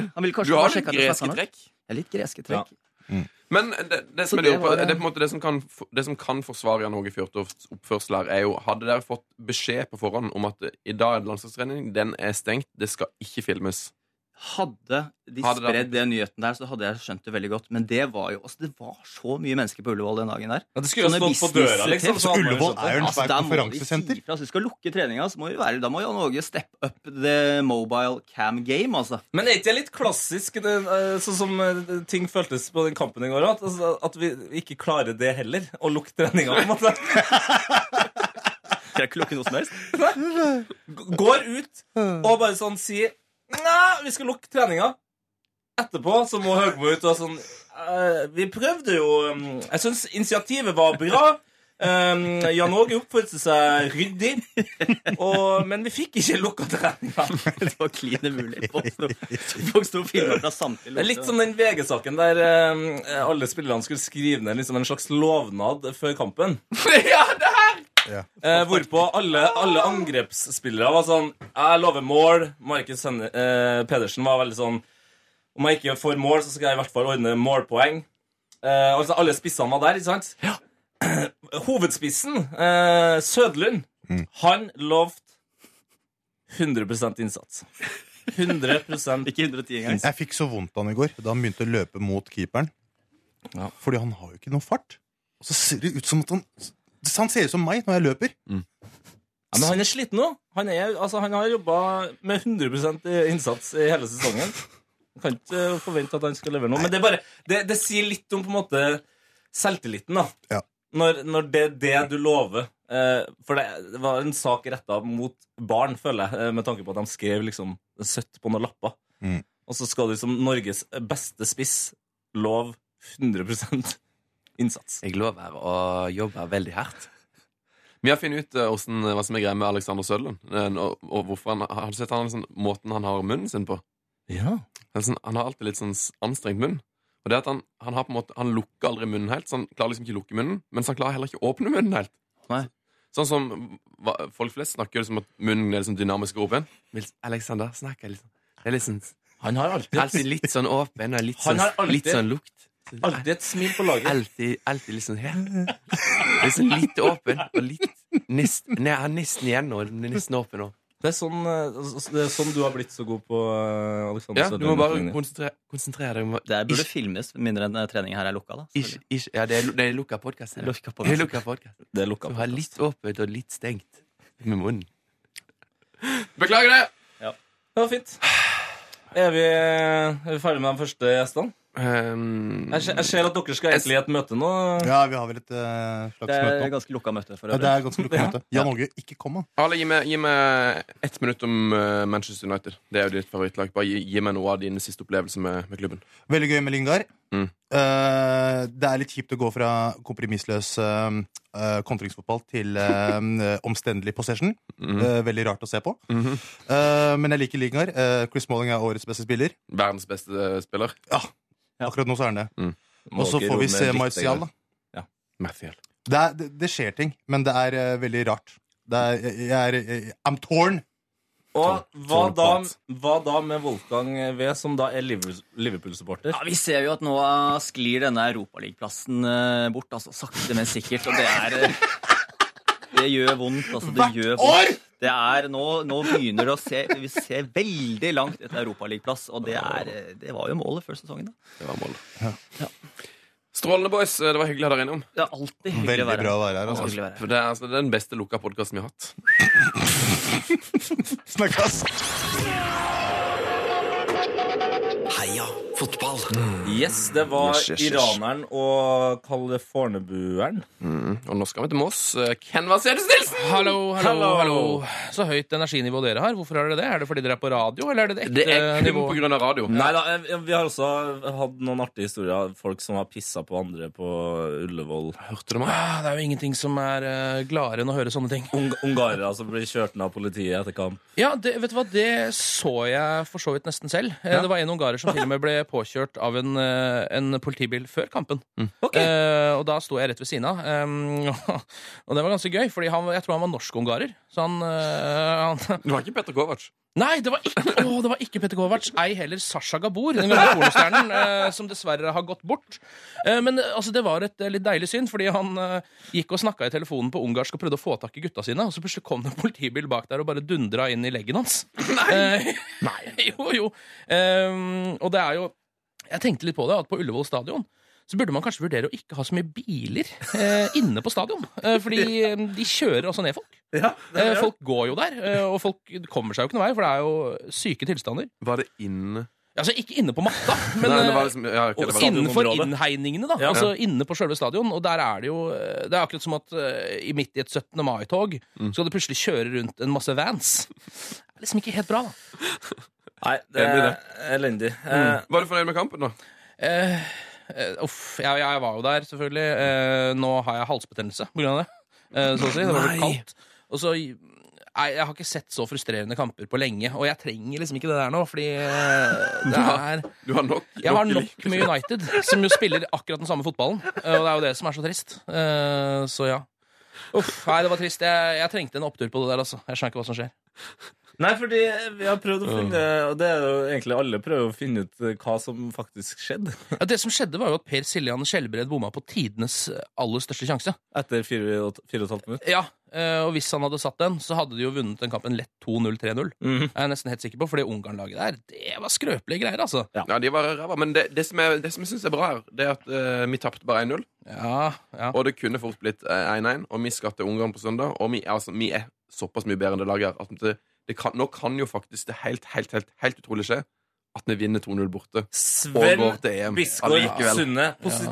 Han ville
du
kanskje
har
bare
litt
sjekke at jeg
greske
snakket norsk.
trekk.
Jeg er litt greske trekk.
Men det, det som
Så
jeg lurer
det
på
var
det
det.
er på en måte det som kan, for- det som kan forsvare Jan Åge Fjørtofts oppførsel her, er jo Hadde dere fått beskjed på forhånd om at i dag er det landslagstrening, den er stengt, det skal ikke filmes?
Hadde de
Hadde det-
spredd den nyheten der, så hadde jeg skjønt det veldig godt. Men det var jo altså, Det var så mye mennesker på Ullevål den dagen der.
Ja, det skulle jo
Sånne
stått på døra,
business- Altså,
liksom.
Så
hadde man jo
Ullevål
skjønt det.
er jo en svær
der må de
konferansesenter.
si fra. Altså, vi skal lukke treninga, så må vi være Da må Jan Åge steppe up the mobile cam game, altså.
Men er ikke det litt klassisk, det, eh, sånn som eh, ting føltes på den kampen i går, at, altså, at vi ikke klarer det heller? Å lukke treninga, på en måte.
Skal jeg ikke lukke noe som helst?
G- Går ut og bare sånn sier Nei, vi skal lukke treninga. Etterpå så må Høgmo ut og sånn «Eh, Vi prøvde jo mm, Jeg syns initiativet var bra. Um, Jan Åge oppførte seg ryddig, og, men vi fikk ikke lukka treninga.
Det var klin umulig. Folk sto- Folk sto og filma fra samtlige
Det er litt som den VG-saken der eh, alle spillerne skulle skrive ned liksom en slags lovnad før kampen. ja, det her!
Ja.
Eh, hvorpå alle, alle angrepsspillere var sånn Jeg lover mål. Markus Henne- eh, Pedersen var veldig sånn Om jeg ikke får mål, så skal jeg i hvert fall ordne målpoeng. Eh, altså, alle spissene var der, ikke sant? Hovedspissen, eh, Sødlund, han lovte 100 innsats. 100
Ikke 110 engang.
Jeg fikk så vondt av han i går da han begynte å løpe mot keeperen.
Ja.
Fordi han har jo ikke noe fart. Og så ser det ut som at han Han ser ut som meg når jeg løper.
Ja, men han er sliten nå. Han, er, altså, han har jobba med 100 i- innsats i hele sesongen. Man kan ikke eh, forvente at han skal levere noe. Men det, er bare, det, det sier litt om på en måte selvtilliten, da.
Ja.
Når, når det er det du lover. Eh, for det, det var en sak retta mot barn, føler jeg, eh, med tanke på at de skrev liksom søtt på noen lapper.
Mm.
Og så skal du som Norges beste spiss love 100 innsats.
Jeg lover her å jobbe veldig hardt. Vi har funnet ut eh, hvordan, hva som er greia med Alexander Sødlund. eh, Og, og hvorfor han, har du sett han, liksom, måten han har munnen sin på?
Ja.
Han, er sånn, han har alltid litt sånn s- anstrengt munn. Og det er at han, han, har på en måte, han lukker aldri munnen helt, så han klarer liksom ikke å lukke munnen. Mens han klarer heller ikke å åpne munnen helt.
Nei.
Sånn som hva- folk flest snakker jo liksom at munnen er liksom dynamisk og åpen. Mens Alexander snakker liksom Det er liksom
Han har alltid,
alltid litt sånn åpen og litt
Han
sånn,
har alltid-
litt sånn lukt.
alltid et smil på laget.
Alltid, alltid liksom her. Liksom litt åpen og litt nest, Nei, han er nesten igjen nå. Den er Nesten åpen nå.
Det er, sånn, eh, det er sånn du har blitt så god på eh, Alexander
Ja, du må
Søderlund.
bare konsentrere, konsentrere deg. om å-
Det burde
Ikke-
filmes, mindre enn trening her er lukka. da
ikke- ikke- Ja, det er, lu- det er lukka podkast. Det
Lukka på
er lukka podcast.
Det er lukka
Du
på.
har litt åpent og litt stengt med munnen. Beklager det!
Det var fint. Er vi, er vi ferdige med de første gjestene?
Um,
Jeg, ser- jeg ser at dere skal egentlig i et møte nå.
Ja, vi har vel et eh, slags
Det
møte
er
nå.
ganske lukka møte. for
Ja, det
øvrig
er ganske lukket møte. Jan Åge, ikke kom, han.
Ale, gi meg, gi meg ett minutt om eh, Manchester United. Det er jo ditt favorittlag. Bare gi, gi meg noe av dine siste opplevelser med, med klubben.
Veldig gøy med Lingard.
Mm.
Eh, det er litt kjipt å gå fra kompromissløs eh, eh, kontringsfotball til eh, omstendelig possession.
Mm.
Mhm.
Eh, veldig rart å se på.
Mm-hmm.
Mhm.
Eh, men jeg liker Lingard. Eh, Chris Malling er årets beste spiller.
Verdens beste eh, spiller.
Akkurat nå så er han det.
Mm.
Må
Og så
dere
får vi
roe
se
ned litt,
Martial,
jeg.
da.
Mathiel.
Det, er, det, det skjer ting, men det er eh, veldig rart. Det er, jeg, jeg er jeg, I'm torn.
Og hva
Tom
da,
Potts.
hva da med Wolfgang V, som da er Liver- Liverpool-supporter?
Ja, Vi ser jo at nå eh, sklir denne europaligaplassen eh, bort, altså sakte, men sikkert. Og det er eh, Det gjør vondt. altså det gjør vondt. Det er, nå, nå begynner det å se Vi ser veldig langt etter europaligaplass, og det, er, eh, det var jo målet før sesongen. da.
Det var målet. Strålende, boys. Eh, Det var hyggelig å ha dere innom.
Det er alltid hyggelig
Veldig
å være
bra
her.
å være her. Altså.
Hyggelig å være her.
For det er altså, det er den beste lukka podkasten vi har hatt.
Snakkes!
Heia fotball.
Yes, det var
Yes, yes, yes.
iraneren og californebueren.
Og nå skal vi til Moss. Eh, Ken Vasenus Nilsen!
Hallo, hallo,
Hallo,
hallo,
hallo.
Så høyt energinivå dere har. Hvorfor er det det? Er det fordi dere er på radio, eller er det Eh, det
Det
ekte
er kun
nivået?
pga. radio.
Nei da, eh, vi har også hatt noen artige historier av folk som har pissa på andre på Ullevål.
Hørte du meg?
Ah, det er jo ingenting som er uh, gladere enn å høre sånne ting.
Ung ungarere som blir kjørt ned av politiet etter kamp.
Ja, det, vet du hva, det så jeg for så vidt nesten selv. Eh, Det var en ungarer som til og med ble påkjørt av en, eh, en politibil før kampen. Eh, og da sto jeg rett ved siden av. Eh, og det var ganske gøy, for jeg tror han var norsk-ungarer. Så han, eh, han
Du var ikke Petter Kovac.
Nei, det var ikke, Åh, det var ikke Petter Kovac. Ei heller Sasha Gabor, den gamle pornostjernen, eh, som dessverre har gått bort. Eh, men eh, altså, det var et eh, litt deilig syn, fordi han eh, gikk og snakka i telefonen på ungarsk og prøvde å få tak i gutta sine, og så plutselig kom det en politibil bak der og bare dundra inn i leggen hans. Nei! jo, jo. Eh, og det er jo Jeg tenkte litt på det, at på Ullevål stadion så burde man kanskje vurdere å ikke ha så mye biler eh, inne på stadion. Eh, fordi eh, de kjører også ned folk. Eh, Folk går jo der, eh, og folk kommer seg jo ikke noen vei, for det er jo syke tilstander.
Var det inne
Altså, ikke inne på matta, men
Nei, det var
eh,
liksom, ja, ok, det var
og innenfor
stadionområdet.
innhegningene, da.
Ja.
Altså inne på selve stadion. Og der er det jo eh, Det er akkurat som at eh, i midt i et 17. mai-tog
Mm.
skal du plutselig kjøre rundt en masse vans. Det er liksom ikke helt bra, da.
Nei, det
Enig i
er
det. Mm.
elendig. Eh,
Var du fornøyd med kampen, da?
Eh, eh, uff, jeg, jeg var jo der, selvfølgelig. Eh, nå har jeg halsbetennelse på grunn av det. Eh, så å si. Det var litt
Nei.
kaldt. Og så Nei, jeg har ikke sett så frustrerende kamper på lenge, og jeg trenger liksom ikke det der nå, fordi eh, det er
Du har nok?
Jeg har nok med United, som jo spiller akkurat den samme fotballen. eh, Og det er jo det som er så trist. Eh, Så ja. Uff, nei, det var trist. Jeg, jeg trengte en opptur på det der, altså. Jeg skjønner ikke hva som skjer.
Nei, fordi vi har prøvd å finne Og det er jo egentlig alle prøver å finne ut eh, hva som faktisk skjedde
Ja, det som skjedde, var jo at Per Siljan Skjelbred bomma på tidenes aller største sjanse.
etter fire og, fire og et halvt minutt.
Ja, eh, og hvis han hadde satt den, så hadde de jo vunnet den kampen lett 2-0-3-0.
Mhm.
Jeg er nesten helt sikker på, for det Ungarn-laget der, det var skrøpelige greier, altså.
Ja, de var ræva. Men det, det som jeg, det som jeg syns er bra her, det er at eh, vi tapte bare 1-0.
Ja, ja.
Og det kunne fort blitt eh, 1-1. Og vi skal til Ungarn på søndag. Og vi, er- altså, vi er såpass mye bedre enn det laget her. At det, det kan, nå kan jo faktisk det helt, helt, helt, helt utrolig skje at vi vinner 2-0 borte. Og
Sven
går til EM
Biskår
allikevel.
Sunde,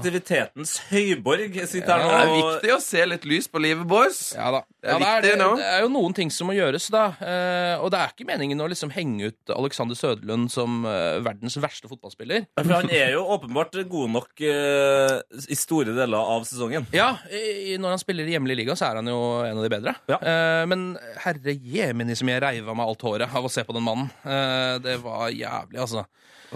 positivitetens høyborg, sitter
Det
her
er
nå. og-
viktig å se litt lys på livet, boys.
Ja da.
Det er
ja, det, er, det,
viktig nå.
det er jo noen ting som må gjøres, da. Eh, og det er ikke meningen å liksom henge ut Alexander Søderlund som eh, verdens verste fotballspiller.
For han er jo åpenbart god nok eh, i store deler av sesongen.
Ja, i, i- Når han spiller i hjemlig liga, så er han jo en av de bedre.
Ja.
Eh, men herre jemini som jeg reiv av meg alt håret av å se på den mannen. Eh, det var jævlig, altså.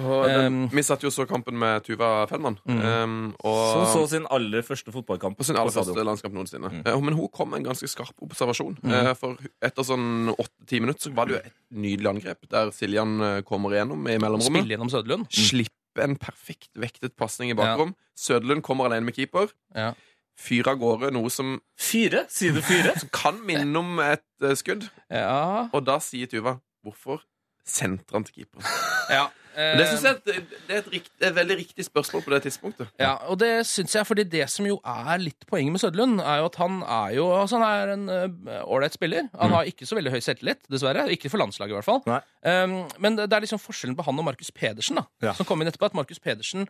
Og den,
Ehm.
Um,
vi satt jo og så kampen med Tuva Fellmann. Um, og
Som Mm. så sin aller første fotballkamp
på sin aller første
stadion.
landskamp noensinne.
Mm.
Eh, Men hun kom med en ganske skarp observasjon. Eh, For etter sånn åtte-ti minutter så var det jo et nydelig angrep, der Siljan eh, kommer igjennom i mellomrommet.
Spille gjennom Søderlund.
Mm.
Slippe en perfekt vektet pasning i bakrom. Søderlund kommer alene med keeper.
Ja.
Fyrer av gårde noe som
Fire? Sier du fire?
kan minne om et eh, skudd.
Ja,
Og da sier Tuva hvorfor sentrer han til keeper?
ja.
Ehm.
Eh,
Det synes jeg er et, det er et, rikt, et veldig riktig spørsmål på det tidspunktet.
Ja, og det syns jeg, fordi det som jo er litt poenget med Søderlund, er jo at han er jo altså han er en eh, ålreit spiller. Han har ikke så veldig høy selvtillit, dessverre. Ikke for landslaget, i hvert fall.
Mm. Nei.
Um, men det det er liksom forskjellen på han og Markus Pedersen, da,
Ja.
som kom inn etterpå, at Markus Pedersen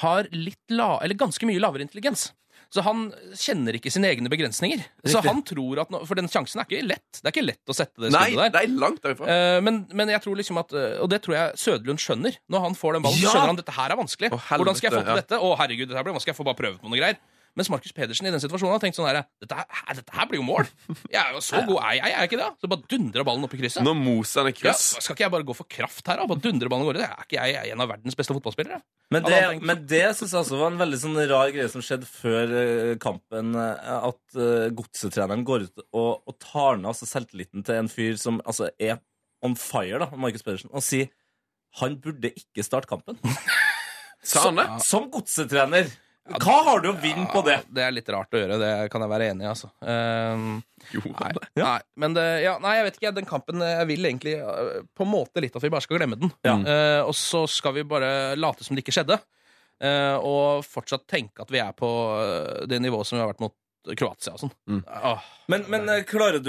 har litt la, eller ganske mye lavere intelligens. Så han kjenner ikke sine egne begrensninger. Så han tror at, nå- For den sjansen er ikke lett. Det er ikke lett å sette det
Nei,
skuddet der.
det er langt derifra.
Eh, men, men jeg tror liksom at eh, Og det tror jeg Søderlund skjønner. Når han får den ballen,
Ja!
så skjønner han dette her er vanskelig.
Å, helvete,
Hvordan skal jeg få til
ja.
dette? Å, herregud, dette her blir vanskelig. Jeg får bare prøve på noen greier. Mens Markus Pedersen i den situasjonen har tenkt sånn her dette, her hæ, dette her blir jo mål! Jeg er jo så god, er jeg, er jeg ikke det? altså. Så bare dundrer ballen opp i krysset.
Når mosene
Ja,
kryss
skal ikke jeg bare gå for kraft her, da? Bare dundre ballen av gårde? Er ikke jeg en av verdens beste fotballspillere?
Men
Ja,
det,
da tenker jeg.
men det synes jeg også var en veldig sånn rar greie som skjedde før eh, kampen, eh, at eh, godsetreneren går ut og, og tar ned altså, selvtilliten til en fyr som altså, er on fire, da, Markus Pedersen, og sier han burde ikke starte kampen.
Sa han det?
Som godsetrener! Hva har du å vinne på det?
Ja, det er litt rart å gjøre, det kan jeg være enig i, altså. Ehm,
Gjorde han
nei,
det?
nei, men det, ja, nei, jeg vet ikke. jeg- Den kampen eh, Jeg vil egentlig øh, på en måte litt at vi bare skal glemme den.
Ja.
Eh, og så skal vi bare late som det ikke skjedde, eh, og fortsatt tenke at vi er på øh, det nivået som vi har vært mot Kroatia og sånn.
Mm.
Åh.
Men, men eh, klarer du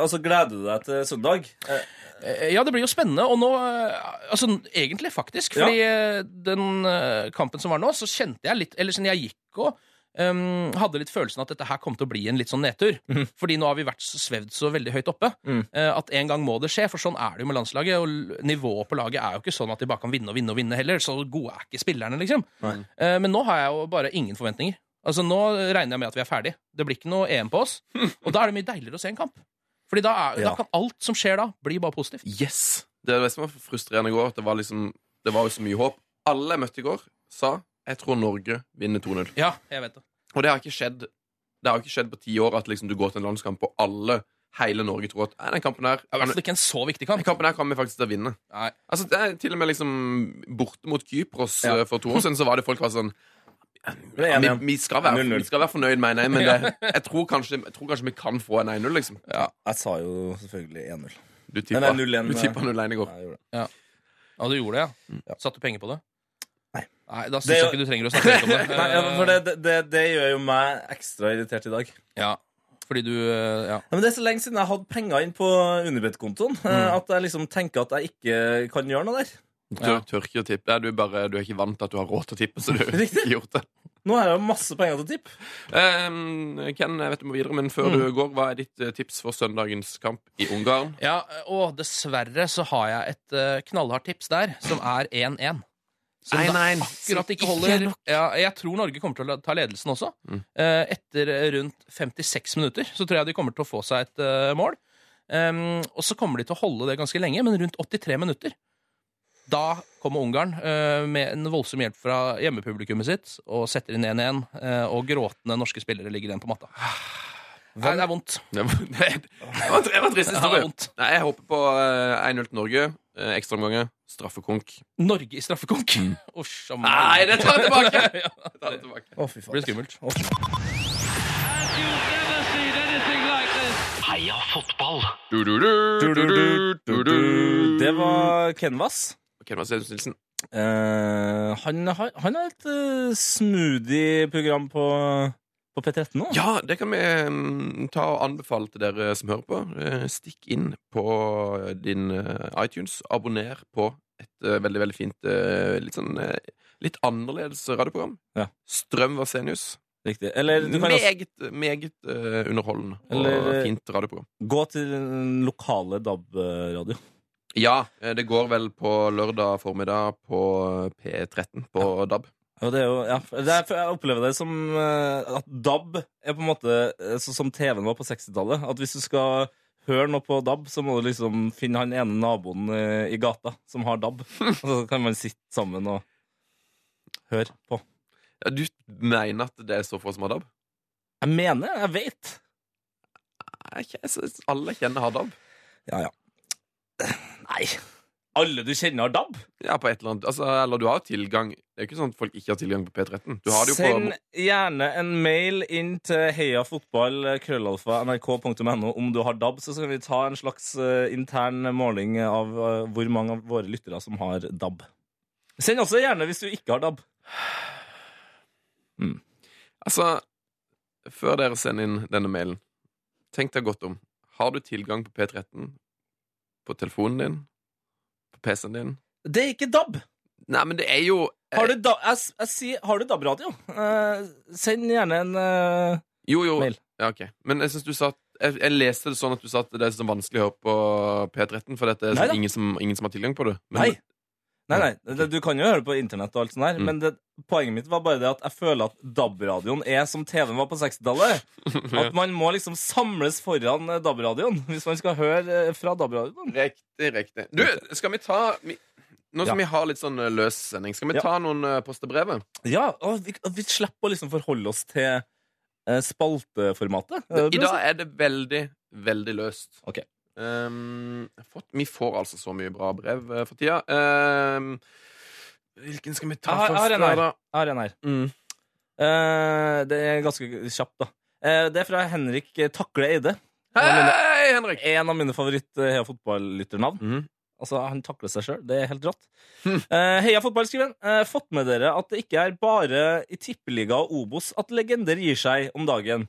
Altså, gleder du deg til søndag? Eh,
Eh, Ja, det blir jo spennende. Og nå eh, Altså, egentlig, faktisk.
Ja.
Fordi eh, den eh, kampen som var nå, så kjente jeg litt Eller sånn, jeg gikk og ehm, hadde litt følelsen at dette her kom til å bli en litt sånn nedtur. Fordi nå har vi vært så- svevd så veldig høyt oppe
Mhm. Mm.
eh, at en gang må det skje. For sånn er det jo med landslaget. Og l- nivået på laget er jo ikke sånn at de bare kan vinne og vinne og vinne heller. Så gode er ikke spillerne, liksom.
Nei.
Eh, men nå har jeg jo bare ingen forventninger. Altså, nå regner jeg med at vi er ferdig. Det blir ikke noe EM på oss. Og da er det mye deiligere å se en kamp. Fordi da, er, da
Ja.
kan alt som skjer da, bli bare positivt.
Yes! Det er det som var frustrerende i går, at det var, liksom, det var jo så mye håp. Alle jeg møtte i går, sa jeg tror Norge vinner 2-0.
Ja, jeg vet det.
Og det har ikke skjedd Det har ikke skjedd på ti år at liksom, du går til en landskamp, og alle, hele Norge, tror at nei, den kampen her
I hvert fall ikke en så viktig kamp.
den kampen her kan vi faktisk til å vinne.
Nei.
Altså, det er til og med liksom Borte mot Kypros
Ja.
eh, for to år siden Så var det folk var sånn
det er
ja, vi,
1-1.
vi, skal være,
0-0.
vi skal være fornøyd, mener jeg, men det, jeg, tror kanskje, jeg tror kanskje vi kan få en 1-0, liksom.
Ja, jeg sa jo selvfølgelig 1-0.
Du
Nei,
tippa
nei,
0-1
0-1,
i går.
Ja, jeg gjorde det.
Ja, du gjorde det, ja.
Ja.
Satte du penger på det?
Nei.
Nei, Da
Det
syns
er
jeg
jo-
ikke du trenger å snakke høyt om det.
Nei, ja, for det, det, det, det gjør jo meg ekstra irritert i dag.
Ja, fordi du eh, Ja.
Ja, men Det er så lenge siden jeg hadde penger inn på Unibet-kontoen eh,
Mm.
at jeg liksom tenker at jeg ikke kan gjøre noe der.
Du tør, tør ikke å tippe. Nei, Du, er bare, du er ikke vant til at du har råd til å tippe, så du har
Riktig.
ikke gjort det.
Nå har jeg jo masse penger til tipp.
Ehm, Ken, jeg vet du må videre, men før du går, hva er ditt eh, tips for søndagens kamp i Ungarn?
ja og dessverre så har jeg et eh, knallhardt tips der, som er 1-1. Som da akkurat ikke holder. Ja, jeg tror Norge kommer til å ta ledelsen også. Eh, Etter rundt 56 minutter så tror jeg de kommer til å få seg et eh, mål. Um, og så kommer de til å holde det ganske lenge, men rundt 83 minutter da kommer Ungarn eh, med en voldsom hjelp fra hjemmepublikummet sitt og setter inn 1-1, eh, og gråtende norske spillere ligger igjen på matta. Nei, det er vondt.
Det var, det var en tr- det var en trist
Ja, det
historie.
var vondt.
Nei, jeg håper på eh, 1-0 til Norge. eh, Ekstraomganger. Straffekonk. Mm.
Norge i straffekonk. Å, sjaman.
Nei, det tar jeg tilbake! Jeg tar det tilbake.
Å, fy faen. Blir skummelt. Å.
Heia fotball!
Det var Kenvas.
Ok, det var Sedus Nilsen.
Eh, han, har, han har et eh, smoothie program på, på P13 nå.
Ja, det kan vi mm, ta og anbefale til dere som hører på. Eh, Stikk inn på din eh, iTunes. Abonner på et eh, veldig, veldig fint, eh, litt sånn eh, litt annerledes radioprogram.
Ja.
Strøm Varsenius.
Riktig. Eller du kan også
Meget, meget eh, underholdende og
Eller, eh,
fint radioprogram.
gå til den lokale DAB-radio.
Ja, eh, det går vel på lørdag formiddag på eh, P13 på DAB.
Og det er jo, ja, det er, jeg opplever det som eh, at DAB er på en måte eh, sånn som TV-en var på 60-tallet. At hvis du skal høre noe på DAB, så må du liksom finne han ene naboen eh, i gata som har DAB. Og så kan man sitte sammen og høre på.
Ja, Du mener at det er så få som har DAB?
Jeg mener, jeg vet.
Nei, ikke- jeg synes alle jeg kjenner har DAB.
Ja, ja. Nei. Alle du kjenner har DAB?
Ja, på et Eller annet altså, Eller du har jo tilgang. Det er jo ikke sånn at folk ikke har tilgang på P13. Du har det jo
Send
på
gjerne en mail inn til heiafotball.nrk.no om du har DAB, så skal vi ta en slags eh, intern måling av eh, hvor mange av våre lyttere som har DAB. Send også gjerne hvis du ikke har DAB.
Altså, før dere sender inn denne mailen, tenk deg godt om. Har du tilgang på P13 på telefonen din? På PC-en din?
Det er ikke DAB!
Nei, men det er jo
Har du DAB, jeg, s- jeg sier, har du DAB-radio? Eh, send gjerne en eh,
Jo, jo.
Mail.
Ja, ok. Men jeg synes du sa at jeg, jeg leste det sånn at du sa at det er så vanskelig å høre på P13, for dette er
Nei
sånn
da.
ingen, som, ingen som har tilgang på det. Men-
Nei. Nei, nei, det, du kan jo høre det på internett og alt sånt der,
Mm.
men det, poenget mitt var bare det at jeg føler at DAB-radioen er som TV-en var på 60-tallet. At man må liksom samles foran eh, DAB-radioen hvis man skal høre eh, fra DAB-radioen.
Riktig, riktig. Du, skal vi ta vi, Nå som vi har litt sånn eh, løs sending, skal vi
Ja.
ta noen eh, post til brevet?
Ja, og vi, og vi slipper å liksom forholde oss til eh, spalteformatet. Er
I
det det du
dag
sier?
er det veldig, veldig løst.
Ok.
Ehm, jeg har fått, vi får altså så mye bra brev eh, for tida. Ehm, hvilken skal vi ta
Jeg har- jeg har
først?
en her.
da?
Jeg har en her.
Mm.
Eh, det er ganske kjapt, da. Eh, det er fra Henrik eh, Takle Eide.
Hei, Henrik!
En av mine favoritt-Heia fotball-lytternavn.
Mhm.
Altså, Han takler seg sjøl. Det er helt rått. Eh, Heia fotball, skriver han. Eh, fått med dere at det ikke er bare i tippeliga og Obos at legender gir seg om dagen.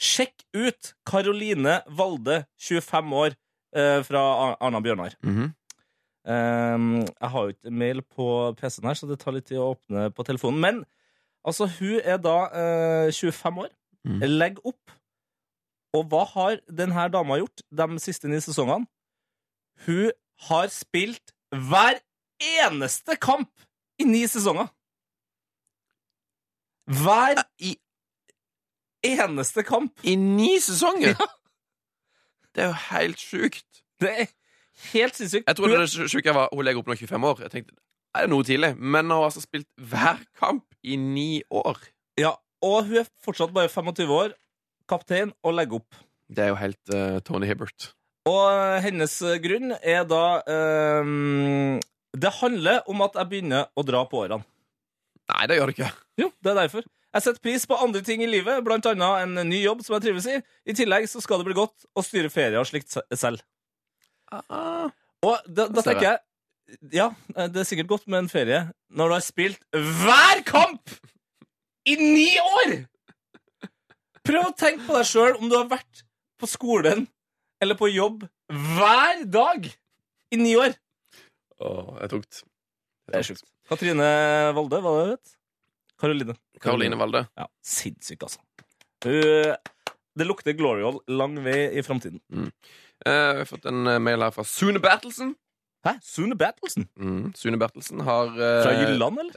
Sjekk ut Karoline Valde, 25 år, eh, fra Ar- Arna Bjørnar.
Mhm.
Eh, jeg har jo ikke mail på PC-en her, så det tar litt tid å åpne på telefonen. Men altså, hun er da eh, 25 år.
Mhm.
Legg opp. Og hva har denne dama gjort de siste ni sesongene? Hun har spilt hver eneste kamp i ni sesonger. Hver i eneste kamp.
I ni sesonger! Det er jo helt sjukt.
Det er helt sinnssykt.
Jeg trodde det sj- sjuke var hun legger opp når hun er 25 år. Jeg tenkte, det er noe tidlig Men hun har altså spilt hver kamp i ni år.
Ja, og hun er fortsatt bare 25 år, kaptein, og legger opp.
Det er jo helt eh, Tony Hibbert.
Og hennes grunn er da ehm, Det handler om at jeg begynner å dra på årene.
Nei, det gjør det ikke.
Jo, det er derfor. Jeg setter pris på andre ting i livet, blant annet en ny jobb som jeg trives i. I tillegg så skal det bli godt å styre ferie og slikt se- selv. Og da, da
ser jeg.
tenker jeg Ja, eh, det er sikkert godt med en ferie når du har spilt hver kamp i ni år! Prøv å tenke på deg sjøl om du har vært på skolen eller på jobb hver dag i ni år.
Åh, det er tungt.
Det er sjukt. Katrine Valde, hva det het? Karoline.
Karoline Valde.
Ja, sinnssyk, altså. Hun- Det lukter Glorial lang vei i framtiden.
Eh, jeg har fått en eh, mail her fra Sune Bertelsen.
Hæ? Sune Bertelsen?
Mm, Sune Bertelsen har
Fra
eh,
Jylland, eller?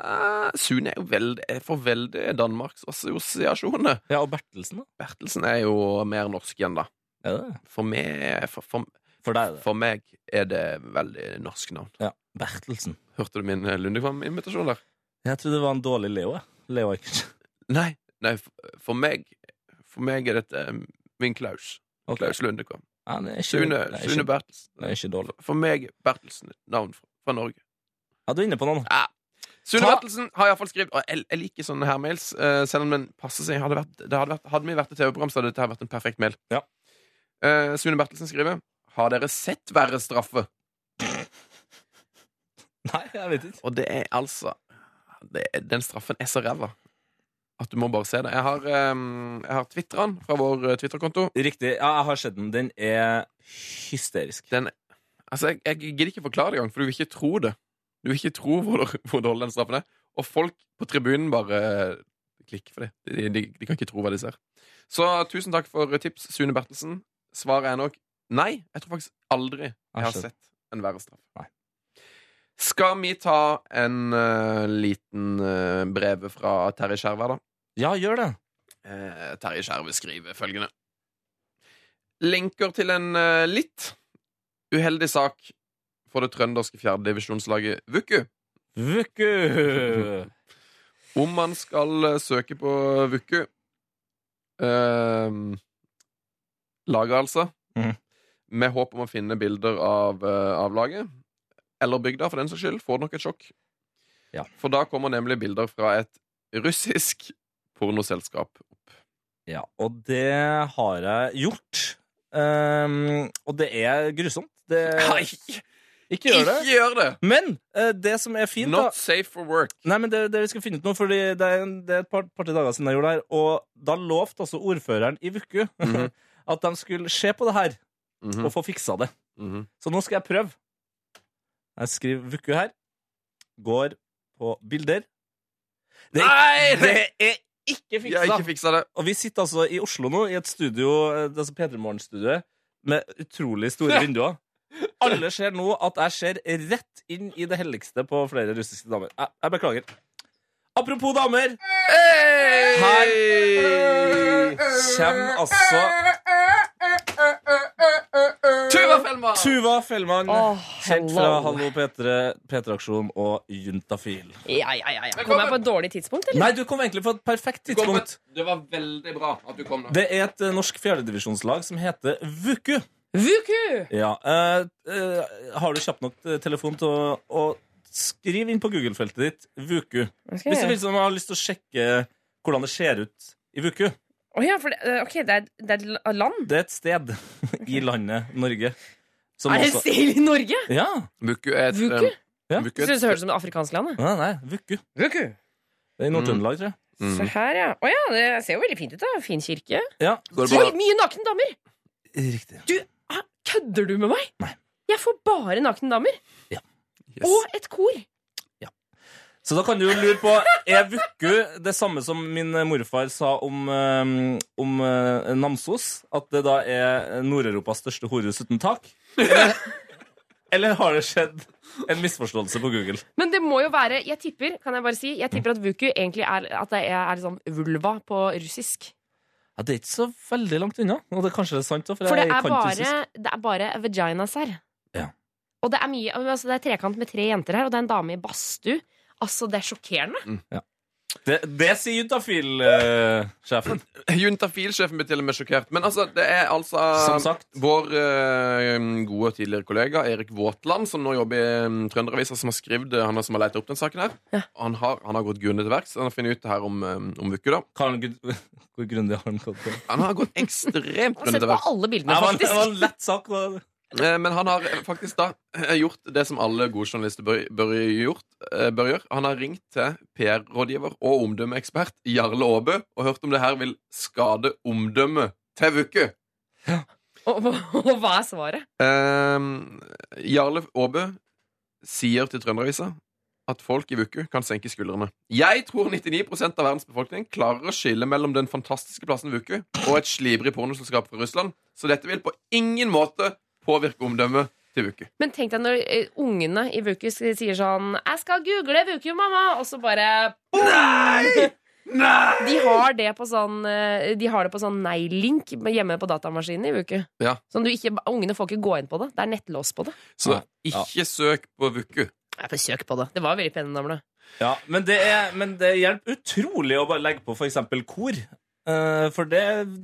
eh, Sune er jo veldig Jeg får veldig Danmarks assosiasjoner.
Ja, og Bertelsen, da.
Bertelsen er jo mer norsk igjen, da.
Er det det?
For meg, for, for,
For deg er det.
for meg er det veldig norsk navn.
Ja. Bertelsen.
Hørte du min eh, Lundekvam-invitasjon der?
Jeg trodde det var en dårlig Leo. jeg. Leo Ajkic.
Nei, nei f- for meg For meg er dette eh, min Klaus.
Ok.
Klaus Lundekvam.
Ja, det er ikke,
Sune,
det er
Sune
ikke,
Bertelsen.
det er ikke dårlig.
For meg Bertelsen et navn fra, fra Norge.
Ja, du er inne på noe.
Sune
Ta-
Bertelsen har iallfall skrevet Og jeg, jeg liker sånne her mails, eh, selv om den passer seg. Hadde, vært, det hadde, vært, hadde vi vært et TV-program, så hadde dette her vært en perfekt mail.
Ja.
Eh, Sune Bertelsen skriver Har dere sett verre straffe?
Nei, jeg vet ikke.
Og det er altså det, er- Den straffen er så ræva at du må bare se det. Jeg har, um, jeg har Twitteren fra vår eh, Twitter-konto.
Riktig. Ja, jeg har sett den. Den er hysterisk.
Den, altså, jeg, jeg gidder ikke forklare det engang, for du vil ikke tro det. Du vil ikke tro hvor, hvor dårlig den straffen er. Og folk på tribunen bare eh, klikker for det. De, de, de kan ikke tro hva de ser. Så tusen takk for tips, Sune Bertelsen. Svaret er nok nei. Jeg tror faktisk aldri jeg har sett en verre straff.
Nei.
Skal vi ta en eh, liten uh, brev fra Terje Skjervær, da?
Ja, gjør det.
Eh, Terje Skjerve skriver følgende. Lenker til en eh, litt uheldig sak for det trønderske fjerdedivisjonslaget Vuku.
Vuku!
Om man skal eh, søke på Vuku eh, Laget, altså.
Mhm.
Med håp om å finne bilder av, eh, av laget. Eller bygda, for den saks skyld. Får nok et sjokk.
Ja.
For da kommer nemlig bilder fra et russisk pornoselskap.
Ja, og det har jeg gjort. Ehm, og det er grusomt. Det,
Nei,
ikke gjør det.
Ikke gjør det!
Men eh, det som er fint, da
Not safe for work.
Nei, men det, det vi skal finne ut nå, fordi det er, en- det er et par, par til dager siden jeg gjorde det her, og da lovte altså ordføreren i Vuku
Mhm.
at de skulle se på det her og få fiksa det.
Mhm.
Så nå skal jeg prøve. Jeg skriver Vuku her. Går på bilder. Det er,
Nei!
det er ikke
Jeg har
fiksa!
ikke fiksa det.
Og vi sitter altså i Oslo nå, i et studio, eh, det er altså P3 Morgen-studioet, med utrolig store vinduer. Alle ser nå at jeg ser rett inn i det helligste på flere russiske damer. Jeg, jeg beklager. Apropos damer, her kommer altså
Tuva Fellmann!
Tuva Fellmann, kjent fra Hallo P3, P3-aksjon og Juntafil.
Ja, ja, ja, ja. Kom jeg på et dårlig tidspunkt, eller?
Nei, du kom egentlig på et perfekt
Kom, men
tidspunkt.
Det var veldig bra at du kom nå.
Det er et eh, norsk fjerdedivisjonslag som heter Vuku.
Vuku!
Ja, eh, eh, Har du kjapt nok eh, telefon til å, å skrive inn på Google-feltet ditt Vuku?
Hva skal
Hvis
jeg
du
gjøre?
vil, sånn, har lyst til å sjekke hvordan det ser ut i Vuku.
Å ja, for det, eh, ok, det er, det er et land?
Det er et sted i landet Norge som
Er det
også
stil i Norge?
Ja!
Vuku er et
Vuku?
eh,
Ja.
Vuku
Jeg synes
er et,
det høres ut som det afrikanske landet.
Nei, nei, Vuku. Det er i Nord-Trøndelag, tror jeg.
Se her, ja. Å ja, det ser jo veldig fint ut, da. Fin kirke.
Mm. Ja,
Går det
Oi,
bra?
mye nakne damer!
Riktig.
Hæ? Kødder du med meg?
Nei.
Jeg får bare nakne damer.
Yes.
Og et kor.
Så da kan du jo lure på Er Vuku det samme som min morfar sa om, eh, om eh, Namsos? At det da er Nord-Europas største horehus uten tak? Eller, eller har det skjedd en misforståelse på Google?
Men det må jo være Jeg tipper kan jeg bare si, jeg tipper at Vuku egentlig er at det er, er liksom vulva på russisk.
Ja, Det er ikke så veldig langt unna. Og det kanskje det er sant, da, for,
For det
jeg
er
kan ikke
bare,
russisk.
det er bare vaginas her.
Ja.
Og det er mye altså Det er trekant med tre jenter her, og det er en dame i badstue. Altså, det er sjokkerende.
Det, det sier Juntafil-sjefen.
Juntafil-sjefen blir til og med sjokkert. Men altså, det er altså
som sagt.
vår eh, gode og tidligere kollega Erik Våtland, som nå jobber i um, Trønderavisa, som har skrevet eh, han er som har leita opp den saken her. Han, har, han har gått grundig til verks. Han har funnet ut det her om, eh, om Vuku, da.
Karl Gud, hvor grundig har han gått på?
Han har gått ekstremt
Jeg har sett
grundig
Altså,
til
på
verks.
alle
Nei,
bildene,
Det var, det var
faktisk.
en lett sak. da.
Eh, Men han har faktisk da eh, gjort det som alle gode journalister bør, bør, gjort, eh, bør gjøre. Han har ringt til PR-rådgiver og omdømmeekspert Jarle Aabø og hørt om det her vil skade omdømmet til Vuku.
Og, og hva er svaret?
Eh, Jarle Aabø sier til Trønderavisa at folk i Vuku kan senke skuldrene. Jeg tror 99 av verdens befolkning klarer å skille mellom den fantastiske plassen Vuku og et slibrig pornoselskap fra Russland, så dette vil på ingen måte påvirke omdømmet til Vuku.
Men tenk deg når eh, ungene i Vuku s- sier sånn 'Jeg skal google Vuku, mamma', og så bare Nei! De har det på sånn eh, De har det på sånn nei-link hjemme på datamaskinen i Vuku.
Ja.
Sånn du ikke, Ungene får ikke gå inn på det. Det er nettlås på det.
Så
Ja, ja.
ikke søk på Vuku.
Jeg får søk på det. Det var veldig pene damer, da.
Ja, men det, er, men det hjelper utrolig å bare legge på f.eks. kor. Eh, Eh, for det,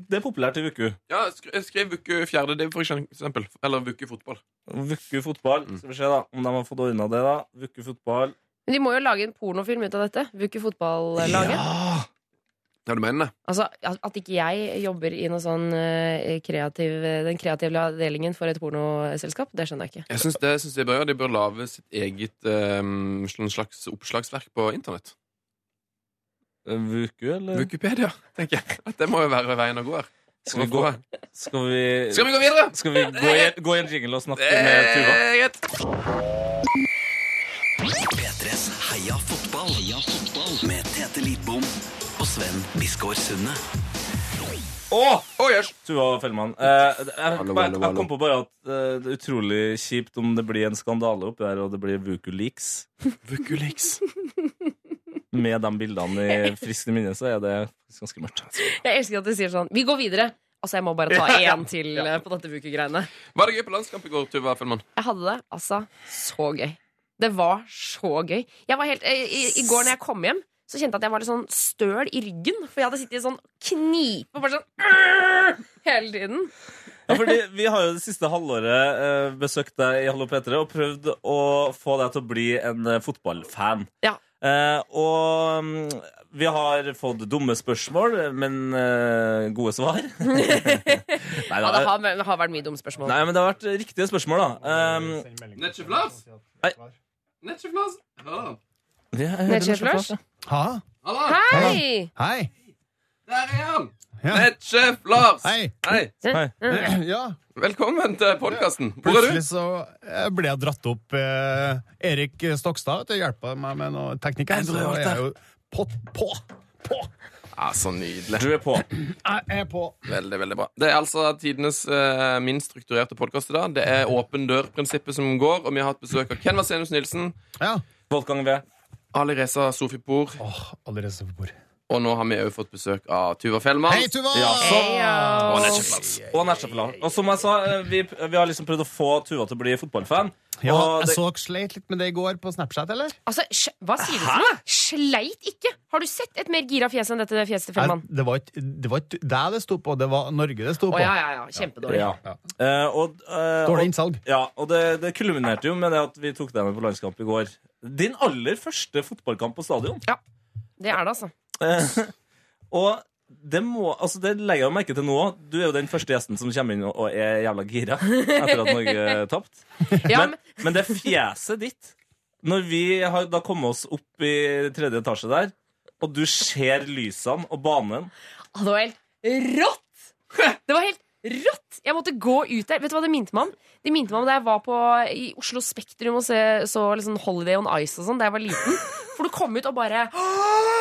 det er populært i Vuku.
Ja, sk- jeg skrev uke fjerde, det for eksempel. Eller uke fotball.
Vuku fotball.
Mm.
Skal vi se da om de har fått ordna det, da. Vuku fotball.
Men de må jo lage en pornofilm ut av dette. Vuke fotballaget.
Ja!
Ja, du mener det?
Altså, at at ikke jeg jobber i noe sånn eh, kreativ, den kreative avdelingen for et pornoselskap, det skjønner jeg ikke.
Jeg syns det, jeg synes det bør gjøre. De bør lage sitt eget ehm, sånn slags oppslagsverk på internett.
Vuku, eller?
Wikipedia, tenker jeg. At det må jo være veien å gå her.
Skal vi gå? Skal vi,
Skal vi gå videre?
skal vi gå, i, gå i en jingle og snakke med Tuva?
Eh, greit.
P3s Heia fotball. Heia fotball. Med Tete Lidbom og Sven Biskår Sunde.
Åh!
Å, jøss.
Tuva Fellmann. Eh, jeg, jeg,
Hallo,
jeg,
hallo,
jeg
hallo.
kom på bare at eh, det er utrolig kjipt om det blir en skandale oppi der, og det blir Vukuleaks.
Vukuleaks.
Med de bildene i friske minne, så er det faktisk ganske mørkt.
Jeg elsker at de sier sånn Vi går videre! Altså, jeg må bare ta én til eh, på dette Vuke-greiene.
Var det gøy på landskamp i går, Tuva Fellmann?
Jeg hadde det altså så gøy. Det var så gøy. Jeg var helt, eh, i, I går når jeg kom hjem, så kjente jeg at jeg var litt sånn støl i ryggen. For jeg hadde sittet i sånn knipe og bare sånn «Åh!» hele tiden.
Ja, fordi vi har jo det siste halvåret eh, besøkt deg i Hallo P3 og prøvd å få deg til å bli en eh, fotballfan.
Ja.
Eh, og mm, vi har fått dumme spørsmål, men eh, gode svar. Nei,
Ja, det har, det har vært mye dumme spørsmål.
Nei, men det har vært riktige spørsmål, da. Um,
Netsjeflas?
Nei.
Netsjeflas? Hallo.
ja, jeg hører
Ned,
det
sjef
så klart,
Lars.
ja.
Ha?
Hallo.
Hei!
Hei.
Der er han!
Ja.
Nettsjef Lars!
Hei.
Hei.
Mm.
Ja,
Velkommen til podkasten. Hvor er du?
plutselig så eh, ble jeg dratt opp. Eh, Erik Stokstad vet du, hjelpa meg med noe teknikk her, så jeg er jo på, på, på.
Ja, så nydelig.
Du er på.
Jeg er på.
Veldig, veldig bra. Det er altså tidenes eh, minst strukturerte podkast i dag. Det er åpen dør-prinsippet som går, og vi har hatt besøk av Ken Vasenius Nilsen,
Ja.
Wolfgang V.
Ali Reza Sofipour,
Åh, allerede så på bordet.
og nå har vi òg fått besøk av Tuva Fellmann.
Hei, Tuva!
Ja, så,
Og
Heyo.
Netsjeflas.
og Nesjefla. Og som jeg sa, eh, vi, vi har liksom prøvd å få Tuva til å bli fotballfan.
Ja,
og
jeg
det,
så dere sleit litt med det i går på Snapchat, eller?
Altså, sj- hva sier du for noe? Sleit ikke! Har du sett et mer gira fjes enn dette fjeset til Fellmann?
Nei, det var ikke det, var ikke deg det sto på, det var Norge det sto
Å
på.
ja, ja, ja. Kjempedårlig.
ja. Eh, og, eh,
Dårlig
og,
innsalg.
ja, og det, det kulminerte jo med det at vi tok deg med på landskamp i går. Din aller første fotballkamp på stadion.
Det er det, altså.
Eh, og det, må, altså det legger jeg merke til nå òg. Du er jo den første gjesten som kommer inn og- og er jævla gira etter at Norge tapte.
Ja,
Men, men det fjeset ditt Når vi har da kommet oss opp i tredje etasje der Og du ser lysene og banen
Å, Det var helt rått! Det var helt rått! Jeg måtte gå ut der. Vet du hva det minte meg om? Det minte meg om da jeg var på, i Oslo Spektrum og se, så liksom Holiday on Ice og sånn da jeg var liten. For du kom ut og bare «Åh,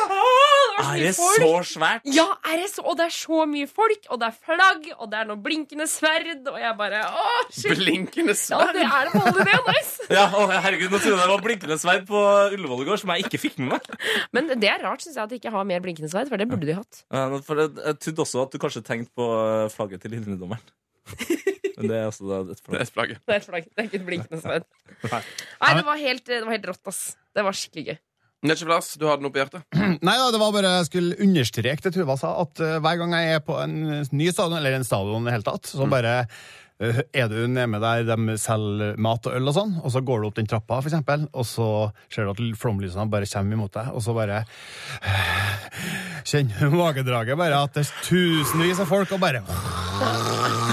det var så
Er
mye
det
folk!»
så svært?
Ja, er det så, og det er så mye folk, og det er flagg, og det er noe blinkende sverd, og jeg bare Å, shit!
Blinkende
Ja,
sverd.
det er det på Holiday on Ice!
Ja, å, herregud, nå trodde jeg det var blinkende sverd på Ullevål i går Som jeg ikke fikk med meg
Men det er rart, syns jeg, at de ikke har mer blinkende sverd, for det burde de hatt.
Eh, For jeg, jeg trodde også at du kanskje tenkte på eh, flagget til lilledommeren Men det er altså da et
Det
flagg
er flagget.
Det er et flagg, det er ikke et blinkende sverd. Nei, det var helt, det var helt rått, ass. Det var skikkelig gøy.
Nettsjef Lars, du har den oppe i hjertet.
Nei da, det var bare jeg skulle understreke det Tuva sa, at eh, hver gang jeg er på en ny stadion, eller en stadion i det hele tatt, så bare eh, er du nede der de selger mat og øl og sånn, og så går du opp den trappa, for eksempel, og så ser du at flomlysene bare kommer imot deg, og så bare kjenner du magedraget bare at det er tusenvis av folk, og bare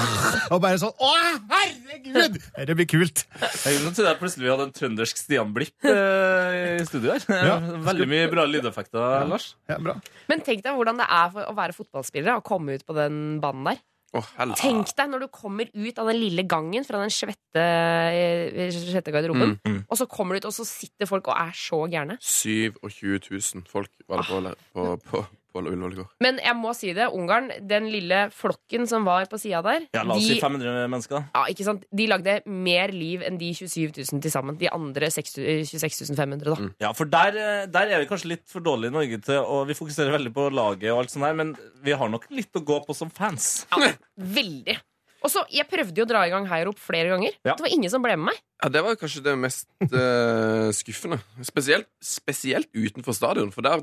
Og bare sånn Å, herregud! Dette blir kult.
Jeg trodde jeg plutselig vi hadde en trøndersk Stian Blipp eh, i studio her
Ja.
Veldig mye bra lydeffekter, Lars
Ja, bra.
Men tenk deg hvordan det er for å være fotballspillere og komme ut på den banen der.
Å, helvete.
Tenk deg når du kommer ut av den lille gangen fra den svette, eh, svette
Mm,
garderoben, og så kommer du ut, og så sitter folk og er så gærne.
27 000 folk var det på, le- på, på, på Ullevål i går.
Men jeg må si det, Ungarn, den lille flokken som var på sida der,
Ja, la oss si
de,
500 mennesker
ja, ikke sant? de lagde mer liv enn de 27 000 til sammen. De andre eh, 6 000 26 500, da.
Ja, for der, eh, der er vi kanskje litt for dårlige i Norge til Og vi fokuserer veldig på laget og alt sånt her Men vi har nok litt å gå på som fans
Veldig. Og så, Jeg prøvde jo å dra i gang heiarop flere ganger.
Ja.
Det var ingen som ble med meg.
Ja, Det var kanskje det mest eh, skuffende. Spesielt, spesielt utenfor stadion, for der,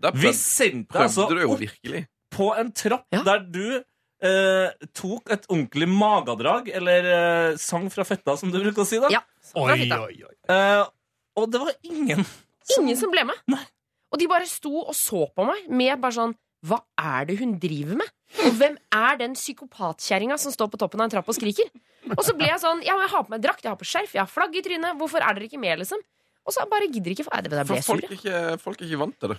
der
Vi
prøvde,
sendte
prøvde
altså
du jo
opp
virkelig.
på en trapp
Ja.
der du eh, tok et ordentlig magedrag, eller eh, sang fra fetta, som du bruker å si. da.
Ja.
Oi,
Bra, fitta.
oi, oi.
Eh, og det var ingen
Ingen som ble med.
Nei.
Og de bare sto og så på meg med bare sånn Hva er det hun driver med? Og hvem er den psykopatkjerringa som står på toppen av en trapp og skriker? Og så ble jeg sånn Ja, men jeg har på meg drakt, jeg har på skjerf, jeg har flagg i trynet. Hvorfor er dere ikke med, liksom? Og så bare gidder ikke Nei, det ble
For
jeg
folk
sur.
er
jeg.
ikke, folk er ikke vant til det.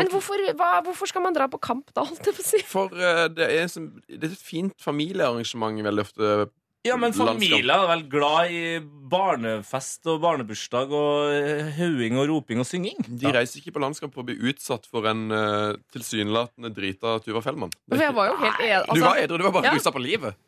Men hvorfor, hva, hvorfor skal man dra på kamp da, holdt jeg på å si?
For eh, det er, som, det er et fint familiearrangement veldig ofte.
Ja, men
Landskap.
familier er vel glad i barnefest og barnebursdag og eh, hauing og roping og synging.
De reiser ikke på landskap for å bli utsatt for en eh, tilsynelatende drita Tuva Fellmann.
For
Det er
jeg
ikke,
var jo helt en-
du var
altså,
edru, du var bare
Ja.
rusa på livet.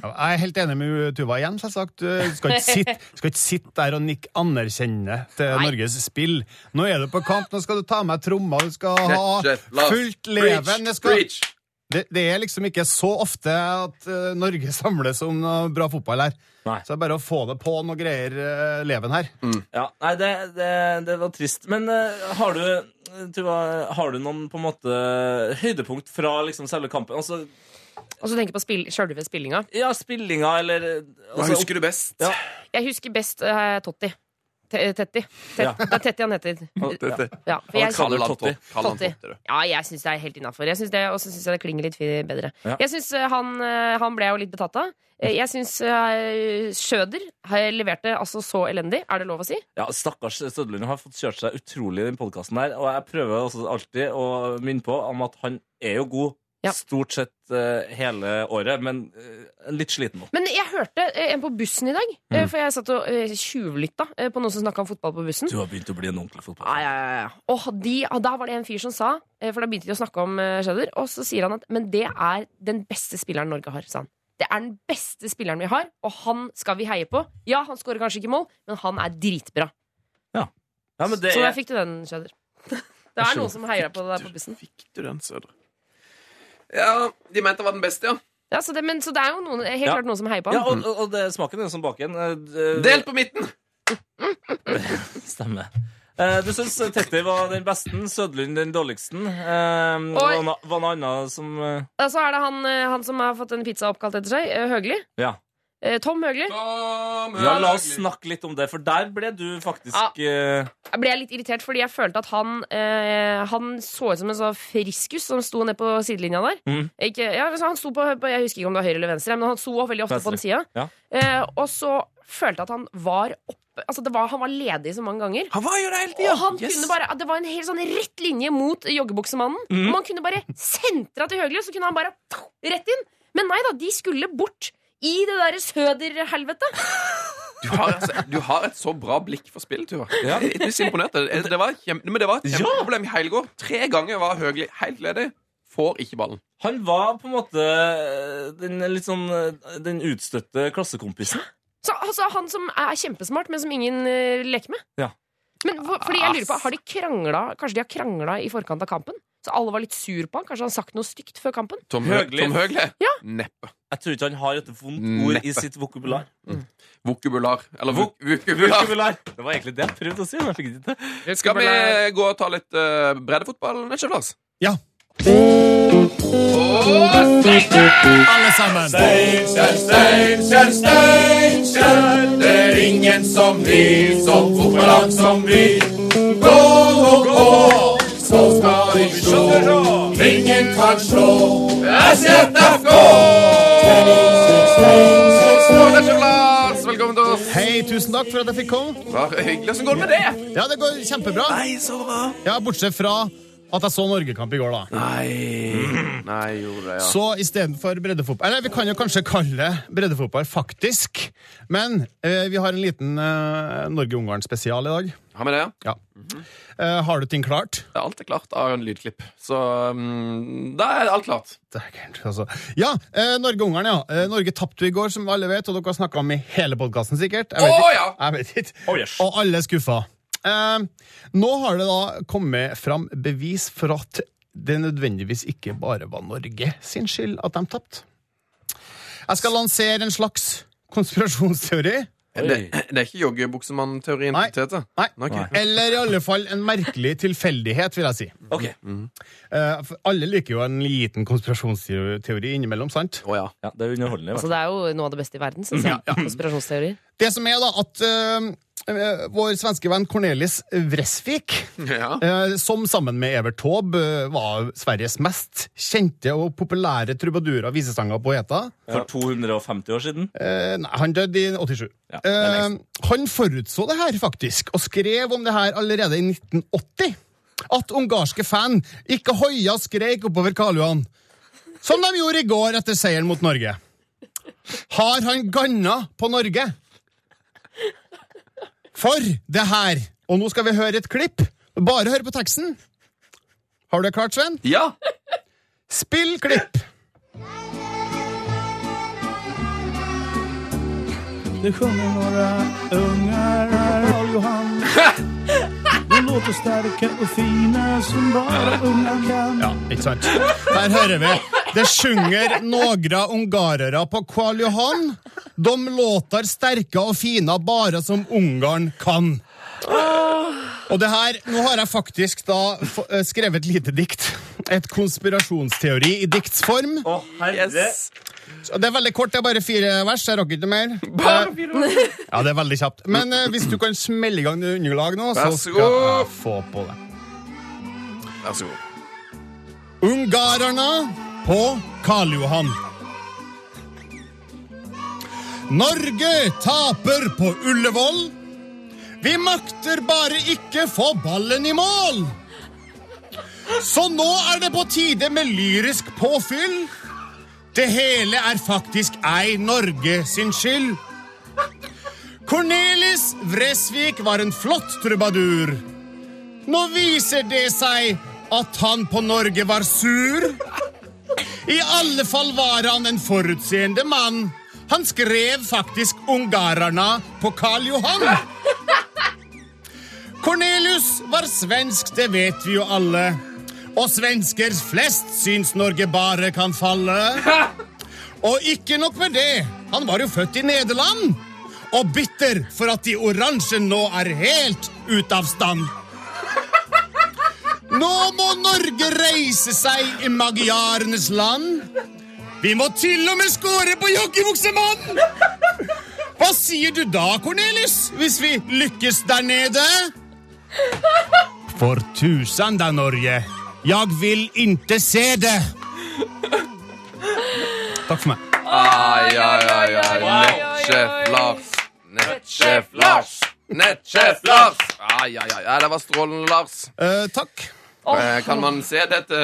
Ja, Jeg er helt enig med Tuva igjen, selvsagt. eh, Du skal ikke sitte, skal ikke sitte der og nikke anerkjennende til Norges spill. Nå er du på kamp, nå skal du ta med tromma, du skal ha
Kjeft, la oss-
fullt
Preach,
leven. Det, skal,
preach.
det, det er liksom ikke så ofte at eh, Norge samles om noe bra fotball her.
Nei.
Så det er bare å få det på noe greier, eh, leven her.
Ja, nei, det, det, det var trist. Men eh, har du eh, Tuva, har du noen på en måte høydepunkt fra liksom selve kampen? Altså,
Og så tenker jeg på spill, sjølve spillinga.
ja, spillinga eller eh,
Hva
altså,
husker du best?
Ja.
Jeg husker best eh, Totti. Te- Tetti. Te-
Ja.
Det er Tetti han heter.
Det- det-
Ja, for
Og
jeg,
Kalle
Kall han
Totti.
Totti. Kall han
Totti.
Totti, du.
Ja, jeg syns det er helt innafor. Og så syns jeg det klinger litt fi- bedre.
Ja.
Jeg synes eh, han, eh, han ble jeg jo litt betatt av. Eh, Jeg syns Schøder har- leverte altså så elendig. Er det lov å si?
Ja, Stakkars Sødlund har fått kjørt seg utrolig i den podkasten her. Og jeg prøver også alltid å minne på om at han er jo god
Ja.
stort sett eh, hele året, men eh, litt sliten nå.
Men jeg hørte eh, en på bussen i dag, eh, for jeg satt og eh, tjuvlytta eh, på noen som snakka om fotball på bussen.
Du har begynt å bli en ordentlig fotball.
Ja, ja, ja, ja. Og Eh, de, og da var det en fyr som sa, eh, for da begynte de å snakke om eh, Schøder, og så sier han at men det er den beste spilleren Norge har, sa han. Det er den beste spilleren vi har, og han skal vi heie på. Ja, han skårer kanskje ikke mål, men han er dritbra.
Ja, men det
Så der
er,
fikk du den, Schøder. Det er noen som heier deg på det der på bussen.
Fikk du den, Sødre? Ja, de mente jeg var den beste, ja.
Ja, så, det, men, så det er jo noen, helt
Ja.
klart noen som heier på
ja,
han.
og, og og det er smaken er den som bak igjen. Eh,
Del på midten!
Stemmer. Eh, du syns Tetti var den beste, Sødlund den dårligsten. Eh,
Oi.
var, na- var noe annet som eh,
Ja, Så er det han, eh, han som har fått en pizza oppkalt etter seg, eh, Høgli.
Ja.
Eh, Tom Høgli.
Ja, la oss snakke litt om det, for der ble du faktisk eh,
Jeg ble litt irritert fordi jeg følte at han eh, Han så ut som en sånn friskus som sto ned på sidelinja der.
Mhm.
Ikke, ja, altså, han sto på, på Jeg husker ikke om det var høyre eller venstre, men han sto veldig ofte på den sida.
Ja.
Eh, og så følte jeg at han var oppe Altså det var, han var ledig så mange ganger.
Han var jo det hele
Og han kunne bare, Det var en helt sånn rett linje mot joggebuksemannen. Og man kunne bare sentra til Høgli, og så kunne han bare rett inn. Men nei da, de skulle bort i det derre søderhelvetet.
Du har, altså, du har et så bra blikk for spill, Tuva.
Ja.
Jeg er så imponert. Det, det var et kjem- men det var et kjempeproblem i hele går. Tre ganger var Høgli helt ledig. Får ikke ballen.
Han var på en måte eh, den litt sånn eh, Den utstøtte klassekompisen.
Så altså, Han som er kjempesmart, men som ingen eh, leker med.
Ja.
Men hvor, fordi jeg lurer på, har de krangla, Kanskje de har krangla i forkant av kampen? Så alle var litt sur på han? Kanskje han har sagt noe stygt før kampen?
Tom
Høgli.
Høgli. Tom Høgli.
Ja.
Neppe.
Jeg tror ikke han har et vondt ord i
Neppe.
sitt vokabular.
Vokubular. Eller
Vok-
vok vokubular.
Vokabular. Det var egentlig det jeg prøvde å si. Men jeg fikk det ikke til.
Skal vi
eh,
gå og ta litt uh, breddefotball, Nesje Lars?
Ja. Alle sammen!
Nesje Lars, velkommen til oss.
Hei, tusen takk for at jeg fikk komme.
Bare hyggelig. Hvordan går det med det?
Ja, det går kjempebra.
Nei, så bra.
Ja, Bortsett fra at jeg så Norgekamp i går, da.
Nei. Nei, gjorde det, ja.
Mm. Så istedenfor breddefotball Eller vi kan jo kanskje kalle det breddefotball, faktisk. Men eh, vi har en liten eh, Norge-Ungarn-spesial i dag.
Har vi det? ja?
Ja. Eh, har du ting klart?
Ja, Alt er klart av en lydklipp. Så mm, da er alt klart.
Dægeren, altså. Ja, eh, Norge-Ungarn, ja. Eh, Norge tapte jo i går, som alle vet, og dere har snakka om i hele podkasten, sikkert. Jeg vet
Å,
ikke.
ja!
Jeg vet ikke.
Oh, yes.
Og alle er skuffa. Eh, nå har det da kommet fram bevis for at det nødvendigvis ikke bare var Norge sin skyld at de tapte. Jeg skal lansere en slags konspirasjonsteori.
Det, det er ikke joggebuksemann-teorien
Nei.
til Tete?
Nei.
ok.
Eller i alle fall en merkelig tilfeldighet, vil jeg si.
Ok.
Eh, for alle liker jo en liten konspirasjonsteori innimellom, sant?
Å ja.
Ja, det er underholdende. i hvert
Altså,
fall.
det er jo noe av det beste i verden, syns jeg. Konspirasjonsteorier.
Det som er, da, at eh, eh, vår svenske venn Cornelis Vresvik
ja.
Eh, som sammen med Evert Taube eh, var Sveriges mest kjente og populære trubadurer, visesanger og poeter.
For 250 år siden.
Eh, nei, han døde i 87.
Ja, det er
eh, han forutså det her, faktisk, og skrev om det her allerede i 1980. At ungarske fan ikke hoia og skreik oppover Karl Johan, som de gjorde i går etter seieren mot Norge. Har han ganna på Norge? For det her, og nå skal vi høre et klipp, bare hør på teksten. Har du det klart, Sven?
ja!
Spill klipp!
Det sjunger några ungar Karl Johan De låter starka och fina som bara ungar kan
Ja, ikke sant? Der hører vi. Det sjunger några ungarere på Karl Johan. De låter sterke og fine bare som Ungarn kan. Og det her, Nå har jeg faktisk da f- eh, skrevet et lite dikt. Et konspirasjonsteori i diktsform.
Å, herre
Så Det er veldig kort, det er bare fire vers. Jeg rakk ikke noe mer. Eh, Ja, det er veldig kjapt. Men eh, hvis du kan smelle i gang det underlag nå, så
Vær så
skal
god.
jeg få på det.
Vær så god.
Ungarerne på Karl Johan. Norge taper på Ullevål. Vi makter bare ikke få ballen i mål. Så nå er det på tide med lyrisk påfyll. Det hele er faktisk ei Norge sin skyld. Cornelis Vresvik var en flott trubadur. Nå viser det seg at han på Norge var sur. I alle fall var han en forutseende mann. Han skrev faktisk 'Ungarerna' på Karl Johan. Cornelius var svensk, det vet vi jo alle. Og svensker flest syns Norge bare kan falle. Og ikke nok med det, han var jo født i Nederland. Og bitter for at de oransje nå er helt ute av stand. Nå må Norge reise seg i magiarenes land. Vi må til og med score på joggebuksemann! Hva sier du da, Cornelis, hvis vi lykkes der nede? For tusen da, Norge. Jeg vil ikke se det. Takk for meg.
Ai, ai, ai, ai. Nettsjef Lars. Nettsjef Lars. Nettsjef Lars. Ai, ai, ai. Ja, det var strålende, Lars.
Eh, takk.
Eh, Kan man se dette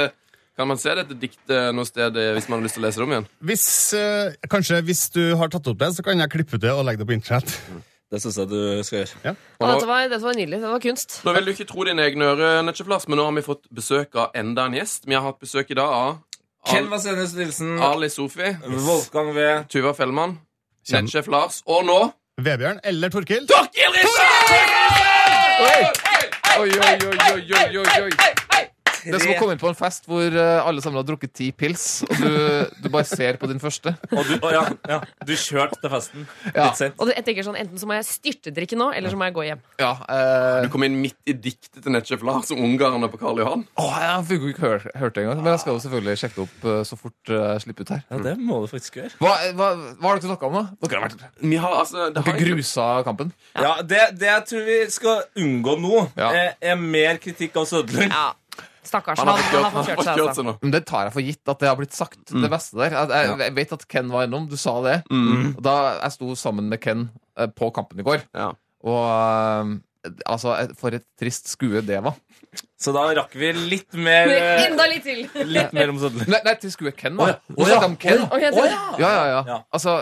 Kan man se dette diktet noe sted eh, hvis man har lyst til å lese det om igjen?
Hvis, eh, kanskje hvis du har tatt opp det, så kan jeg klippe det og legge det på internett.
Det syns jeg du skal gjøre.
Og dette var, dette var nydelig. Det var kunst.
Nå vil du ikke tro dine egne ører, Nettsjef Lars, men nå har vi fått besøk av enda en gjest. Vi har hatt besøk i dag av
Ken
Al
Vasenius Nilsen,
Ali Sofi,
Wolfgang V.
Tuva Fellmann, Nettsjef Lars og nå
Vebjørn eller Torkil?
Torkil Riise! Oi, oi, oi, oi, oi, oi, oi.
Det er som å komme inn på en fest hvor eh, alle sammen har drukket ti pils, og du, du bare ser på din første.
Og du, å, ja, ja, du kjørte til festen
Ja.
litt sent.
Og det- jeg tenker sånn, Enten så må jeg styrtedrikke nå, eller så må jeg gå hjem.
Ja, eh,
Du kom inn midt i diktet til Nettsjef Lars om ungarerne på Karl Johan.
å, jeg fikk jo ikke hørt, hørt det engang, men jeg skal jo selvfølgelig sjekke det opp eh, så fort eh, jeg slipper ut her.
Ja, det må du faktisk gjøre.
Hva, hva, hva har dere snakka om, da? Dere har vært
Vi har altså det
dere
har-
grusa kampen.
Ja, det, det jeg tror vi skal unngå nå,
Ja.
er, er mer kritikk av Sødlund.
Ja, Stakkars.
Han har fått kjørt, han har fått kjørt
altså.
seg nå.
Men det tar jeg for gitt at det har blitt sagt.
Mm.
Det beste der jeg, jeg, jeg vet at Ken var innom. Du sa det.
Mm.
Og Da jeg sto sammen med Ken eh, på kampen i går.
Ja.
Og eh, altså, eh, for et trist skue det var.
Så da rakk vi litt mer, eh,
Enda litt til!
litt mer om Sødlund.
Nei, nei til skue Ken, var.
Å ja.
Du
Å ja.
snakket om Ken.
Å, jeg tror-
Ja, ja, ja.
Ja.
Altså,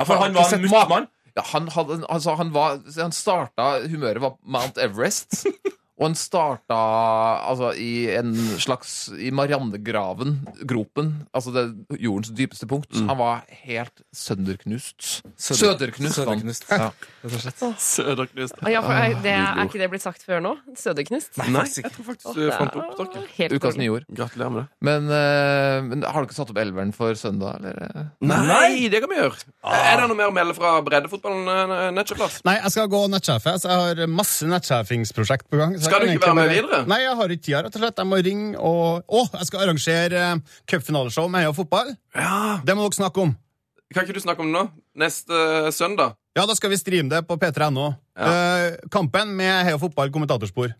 For han
har ikke
var
sett
en
ma-
muttmann.
Ja, han, hadde, en- altså, han, var, han starta humøret var Mount Everest. Og en starta altså, i en slags I Mariannegraven, gropen, altså det jordens dypeste punkt.
Mm.
Han var helt sønderknust. Søderknust. var han.
Søderknust,
Ja.
Søderknust.
Ah, Ja, for er, det, er ikke det blitt sagt før nå? Søderknust?
Nei, jeg tror faktisk du fant opp
Åh, helt
Ukas
konge.
nye ord.
Gratulerer med det.
Men, eh, men har du ikke satt opp elveren for søndag, eller?
Nei, Ah. det kan vi gjøre. Er det noe mer å melde fra breddefotballen? eh, Nettsjøplass?
Nei, jeg skal gå nettsjef. jeg, så Jeg har masse nettsjefingsprosjekt på gang. så jeg
Skal du
kan
ikke
egentlig
være med videre?
Nei, jeg har ikke tida, rett og slett. Jeg må ringe og Å, jeg skal arrangere eh, cupfinaleshow med Heia Fotball.
Ja.
Det må dere snakke om.
Kan ikke du snakke om det nå? Neste eh, søndag?
Ja, da skal vi streame det på p3.no. Eh, kampen med Heia Fotball kommentatorspor.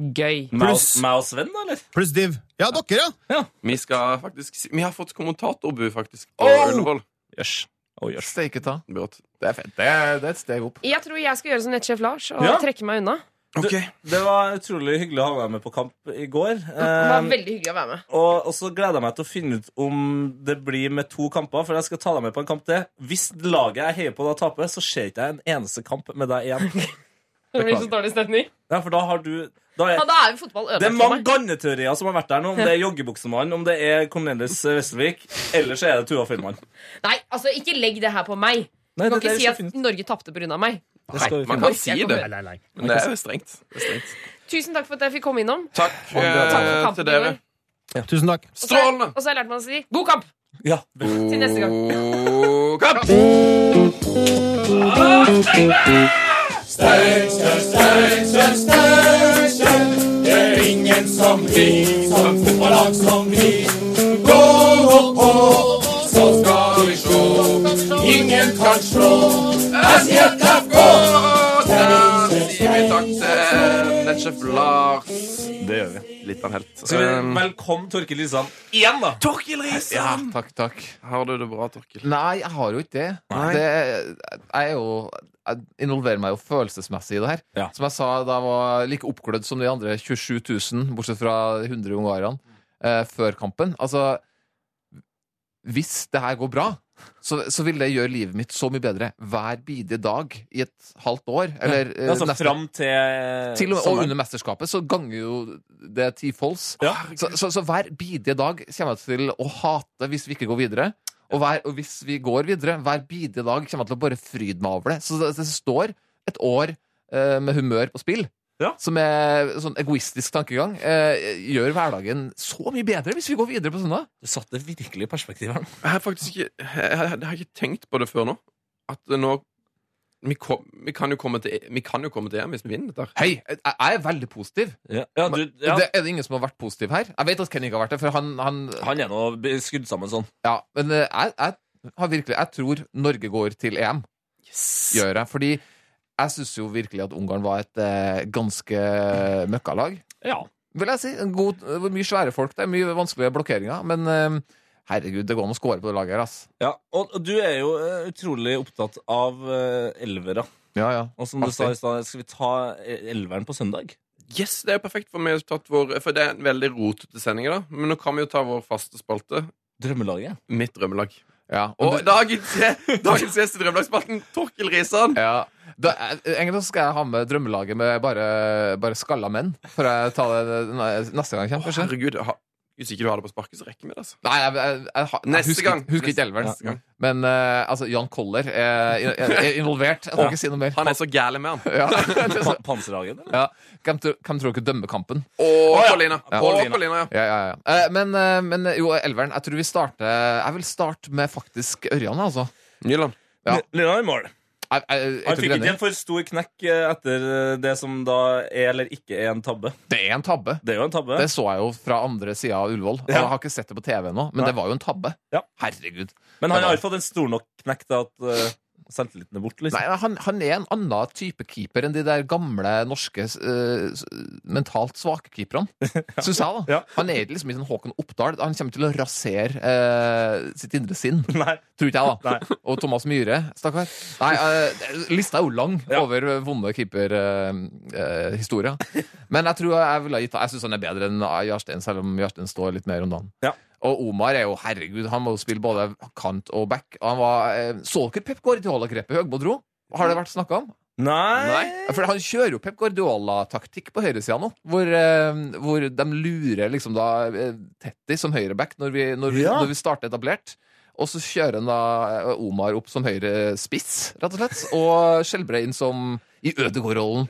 Gøy.
Meg og-
Pluss-
meg og Sven, da, eller?
Pluss div. Ja, dere, ja.
Vi skal faktisk si- Vi har fått kommentatorbu, faktisk, på
Oh!
Ullevål.
Jøss. Oh, jøss.
Steike ta.
Brått.
Det er fett. Det er, det er et steg opp.
Jeg tror jeg skal gjøre som nettsjef Lars og
Ja.
trekke meg unna.
Det var utrolig hyggelig å ha deg med på kamp i går.
Det var
Eh,
veldig hyggelig å være med.
og, og så gleder jeg meg til å finne ut om det blir med to kamper, for jeg skal ta deg med på en kamp til. Hvis laget jeg heier på da taper, så ser ikke jeg en eneste kamp med deg igjen.
Det blir så dårlig stemning.
Ja, for da har du da er,
Ja, da er jo fotball
Det er
ødelagt for
mange
meg.
ganneteorier som har vært der nå. Om det er joggebuksemannen, om det er Cornelis Westervik, eller så er det Tuva Fyllmann.
Nei, altså, ikke legg det her på meg.
Nei,
Du kan
det- det
ikke
er
si
så
at
fint.
Norge tapte pga. meg.
Det skal vi
Man
finne.
kan si det,
Nei, nei, nei.
men det er jo strengt. Det er strengt.
Tusen takk for at jeg fikk komme innom.
Takk,
takk for
eh,
kampen
til
i
dere.
går.
Tusen takk.
Og så har-
Strålende! Oh.
Og så har jeg lært meg å si god kamp!
Ja,
Til neste gang.
God kamp! Sier vi takk til nettsjef Lars.
det gjør vi.
Litt av en helt.
Skal vi
Um,
velkomme Torkil Risan igjen, da.
Torkil Riise!
Ja, takk, takk.
Har du det bra, Torkil?
Nei, jeg har jo ikke det. det jeg er jo jeg involverer meg jo følelsesmessig i det her.
Ja.
Som jeg sa da jeg var like oppglødd som de andre 27 000, bortsett fra 100 ungarerne, eh, før kampen. Altså Hvis det her går bra, så, så vil det gjøre livet mitt så mye bedre hver bidige dag i et halvt år. Eller eh,
Altså
nesten-
fram til eh,
til og, og
sommeren.
under mesterskapet så ganger jo det tifolds.
Ja.
Så, så, så hver bidige dag kommer jeg til å hate hvis vi ikke går videre. Og, hver, og hvis vi går videre, hver bidige dag kommer jeg til å bare fryde meg over det. Så det, det står et år eh, med humør på spill.
Ja.
Som er sånn egoistisk tankegang. Eh, gjør hverdagen så mye bedre hvis vi går videre på søndag.
Du satte virkelig perspektiv her nå.
Jeg har faktisk ikke, jeg, har- jeg har ikke tenkt på det før nå. At nå vi, kom, vi, kan jo komme til, vi kan jo komme til EM hvis vi vinner dette. her.
Hei, jeg, jeg er veldig positiv.
Ja, ja, du, ja.
Det, er det ingen som har vært positiv her? Jeg vet at Kenny ikke har vært det, for han, han,
Han er nå b- skrudd sammen sånn.
Ja, men eh, jeg, jeg har virkelig Jeg tror Norge går til EM. Gjør jeg. Fordi jeg syns jo virkelig at Ungarn var et eh, ganske eh, møkkalag.
Ja.
Vil jeg si. En god, det var mye svære folk der, mye vanskelige blokkeringer. Men eh, herregud, det går an å score på det laget her, ass.
Ja, og og du er jo eh, utrolig opptatt av eh, elvere.
Ja, ja.
Og som du sa i stad, skal vi ta eh, elveren på søndag?
Yes, Det er jo perfekt, for vi har tatt vår For det er en veldig rotete sending, da. Men nå kan vi jo ta vår faste spalte.
Drømmelaget.
Mitt drømmelag.
ja. Og
Og
det-
dagens, dagens gjest i drømmelagsspalten, Torkil Risan.
ja. Da, eh, egentlig så skal jeg ha med drømmelaget med bare, bare skalla menn. For jeg tar det ne- neste gang jeg kommer. kanskje.
Herregud, jeg har- hvis ikke du har det på sparket, så rekker vi det. altså
Nei, jeg, jeg, jeg, har- jeg
Neste
husker,
gang.
ikke- husker ikke elveren.
Neste gang.
Men eh, altså, Jan Koller er, er, er involvert. Jeg kan ikke si noe mer.
Han er så gæren med han.
Ja.
Pa Panserhagen, eller?
Ja. Hvem, tror- hvem tror dere dømmer kampen?
Og Paulina.
Ja.
Og Paulina, ja.
Ja, ja, ja. Eh, Men, eh, men jo, Elveren, jeg tror vi starter Jeg vil starte med faktisk Ørjan, altså.
Nyland.
Ja.
Lina i mål.
Jeg, jeg, jeg,
Han
tror
fikk
ikke det
ikke
er
en for stor knekk eh, etter eh, det som da er eller ikke er en tabbe.
enig. Det er en tabbe.
Det er jo en tabbe.
Det så jeg jo fra andre sida av Ullevål. Og
Ja.
Jeg har ikke sett det på TV ennå, men
Nei.
det var jo en tabbe.
Ja.
Herregud. det
Men han
var-
har jo fått en stor nok knekk til at eh, selvtilliten er borte.
Nei,
Liksom.
han, han er en annen type keeper enn de der gamle norske eh, s- mentalt svake keeperne, syns jeg. da
Ja.
Han er liksom ikke sånn Håkon Oppdal. Han kommer til å rasere eh, sitt indre sinn.
Nei.
Tror ikke jeg, da.
Nei.
Og Thomas Myhre, stakkar. Nei, eh, lista er jo lang
Ja.
over eh, vonde keeperhistorier. Men jeg tror jeg ville ha gitt Jeg syns han er bedre enn eh, Jarstein, selv om Jarstein står litt mer om dagen.
Ja.
Og Omar er jo herregud, han må jo spille både kant og back. Og Han var, eh, så dere Pep Guardiola-grepet Høgmo dro? Har det vært snakka om?
Nei.
For han kjører jo Pep Guardiola-taktikk på høyresida nå. Hvor, eh, hvor de lurer liksom da eh, Tetti som høyreback når vi, når vi,
Ja.
når vi starter etablert. Og så kjører han da eh, Omar opp som høyre spiss, rett og slett. Og Skjelbrein som i Ødegård-rollen.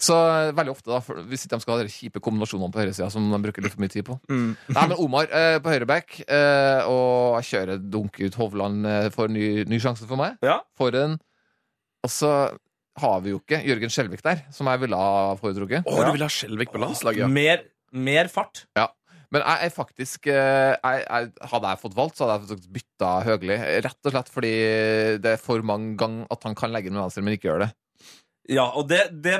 Så eh, veldig ofte, da, for- hvis ikke de skal ha de kjipe kombinasjonene på høyresida som de bruker litt for mye tid på. Nei, men Omar eh, på høyreback, eh, og jeg kjører dunk ut Hovland eh, for en ny, ny sjanse for meg. For en Og så har vi jo ikke Jørgen Skjelvik der, som jeg ville ha foretrukket.
Å, du vil ha Skjelvik på landslaget? ja.
Mer, mer fart.
Ja. Men jeg er faktisk eh, jeg, jeg, Hadde jeg fått valgt, så hadde jeg faktisk bytta Høgli. Rett og slett fordi det er for mange ganger at han kan legge inn med venstre, men ikke gjør det.
Ja, og det, det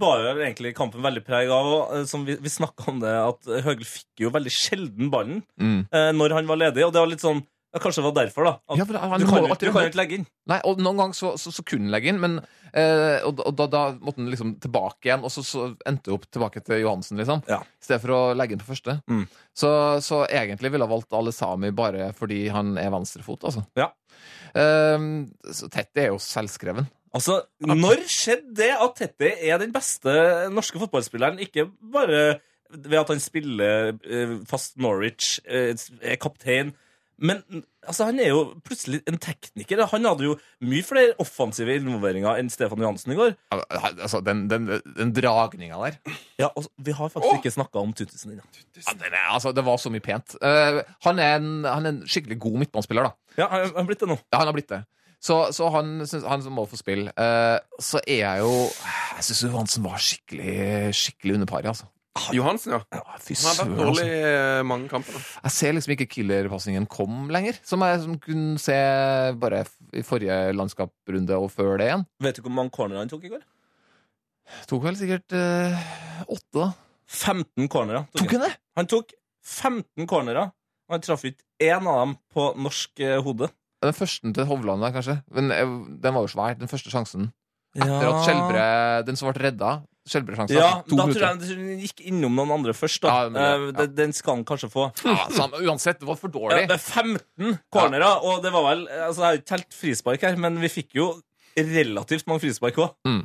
barer egentlig kampen veldig preg av. Og, eh, som vi, vi snakka om det, at Høgel fikk jo veldig sjelden ballen
Mm.
eh, når han var ledig. Og det var litt sånn ja, Kanskje det var derfor, da. At
Ja, for han
du
må
kan jo
alltid-
du kan jo ikke legge inn.
Nei, og Noen ganger så, så, så kunne han legge inn, men eh, og, og da, da måtte han liksom tilbake igjen. Og så, så endte det opp tilbake til Johansen, liksom. I stedet for å legge inn på første.
Mm.
Så, så egentlig ville jeg valgt Ale Sami bare fordi han er venstrefot, altså.
Ja.
Ehm, så Tetti er jo selvskreven.
Altså, Når skjedde det at Tetti er den beste norske fotballspilleren? Ikke bare ved at han spiller eh, fast Norwich, eh, er kaptein. Men altså, han er jo plutselig en tekniker. Han hadde jo mye flere offensive involveringer enn Stefan Johansen i går.
Altså, den, den, den dragninga der.
Ja, altså, Vi har faktisk ikke snakka om Tuttesen ennå.
Ja, det, er- altså, det var så mye pent. Eh, han, er en, han er en skikkelig god midtbanespiller, da.
Ja, han har blitt det nå.
Ja, han har blitt det. Så, så han, synes, han må få spille. Eh, så er jeg jo Jeg syns Johansen var skikkelig Skikkelig under paret, altså.
Johansen, ja.
Fy
Han har
søren,
vært
altså.
dårlig eh, mange kamper. da.
Jeg ser liksom ikke killerpasningen kom lenger, som jeg som kunne se bare f- i forrige landskapsrunde og før det igjen.
Vet du hvor mange cornerer han tok i går?
Tok vel sikkert eh, åtte, da.
15 cornerer.
Tok han det?
Han tok 15 cornerer, og han traff ikke én av dem på norsk eh, hode.
Den første til Hovland, der, kanskje. Men eh, den var jo svær, den første sjansen. Etter
Ja.
at Skjelbre Den som ble redda. Skjelbre-sjansen.
Ah. Ja,
to
da tror
minutter.
jeg den gikk innom noen andre først. da
Ja, men det-
Eh, den- Den skal han kanskje få.
Ja, samme, uansett, det var for
Ja,
dårlig.
det er 15 cornerer, og det var vel altså, Jeg har jo ikke telt frispark her, men vi fikk jo relativt mange frispark òg.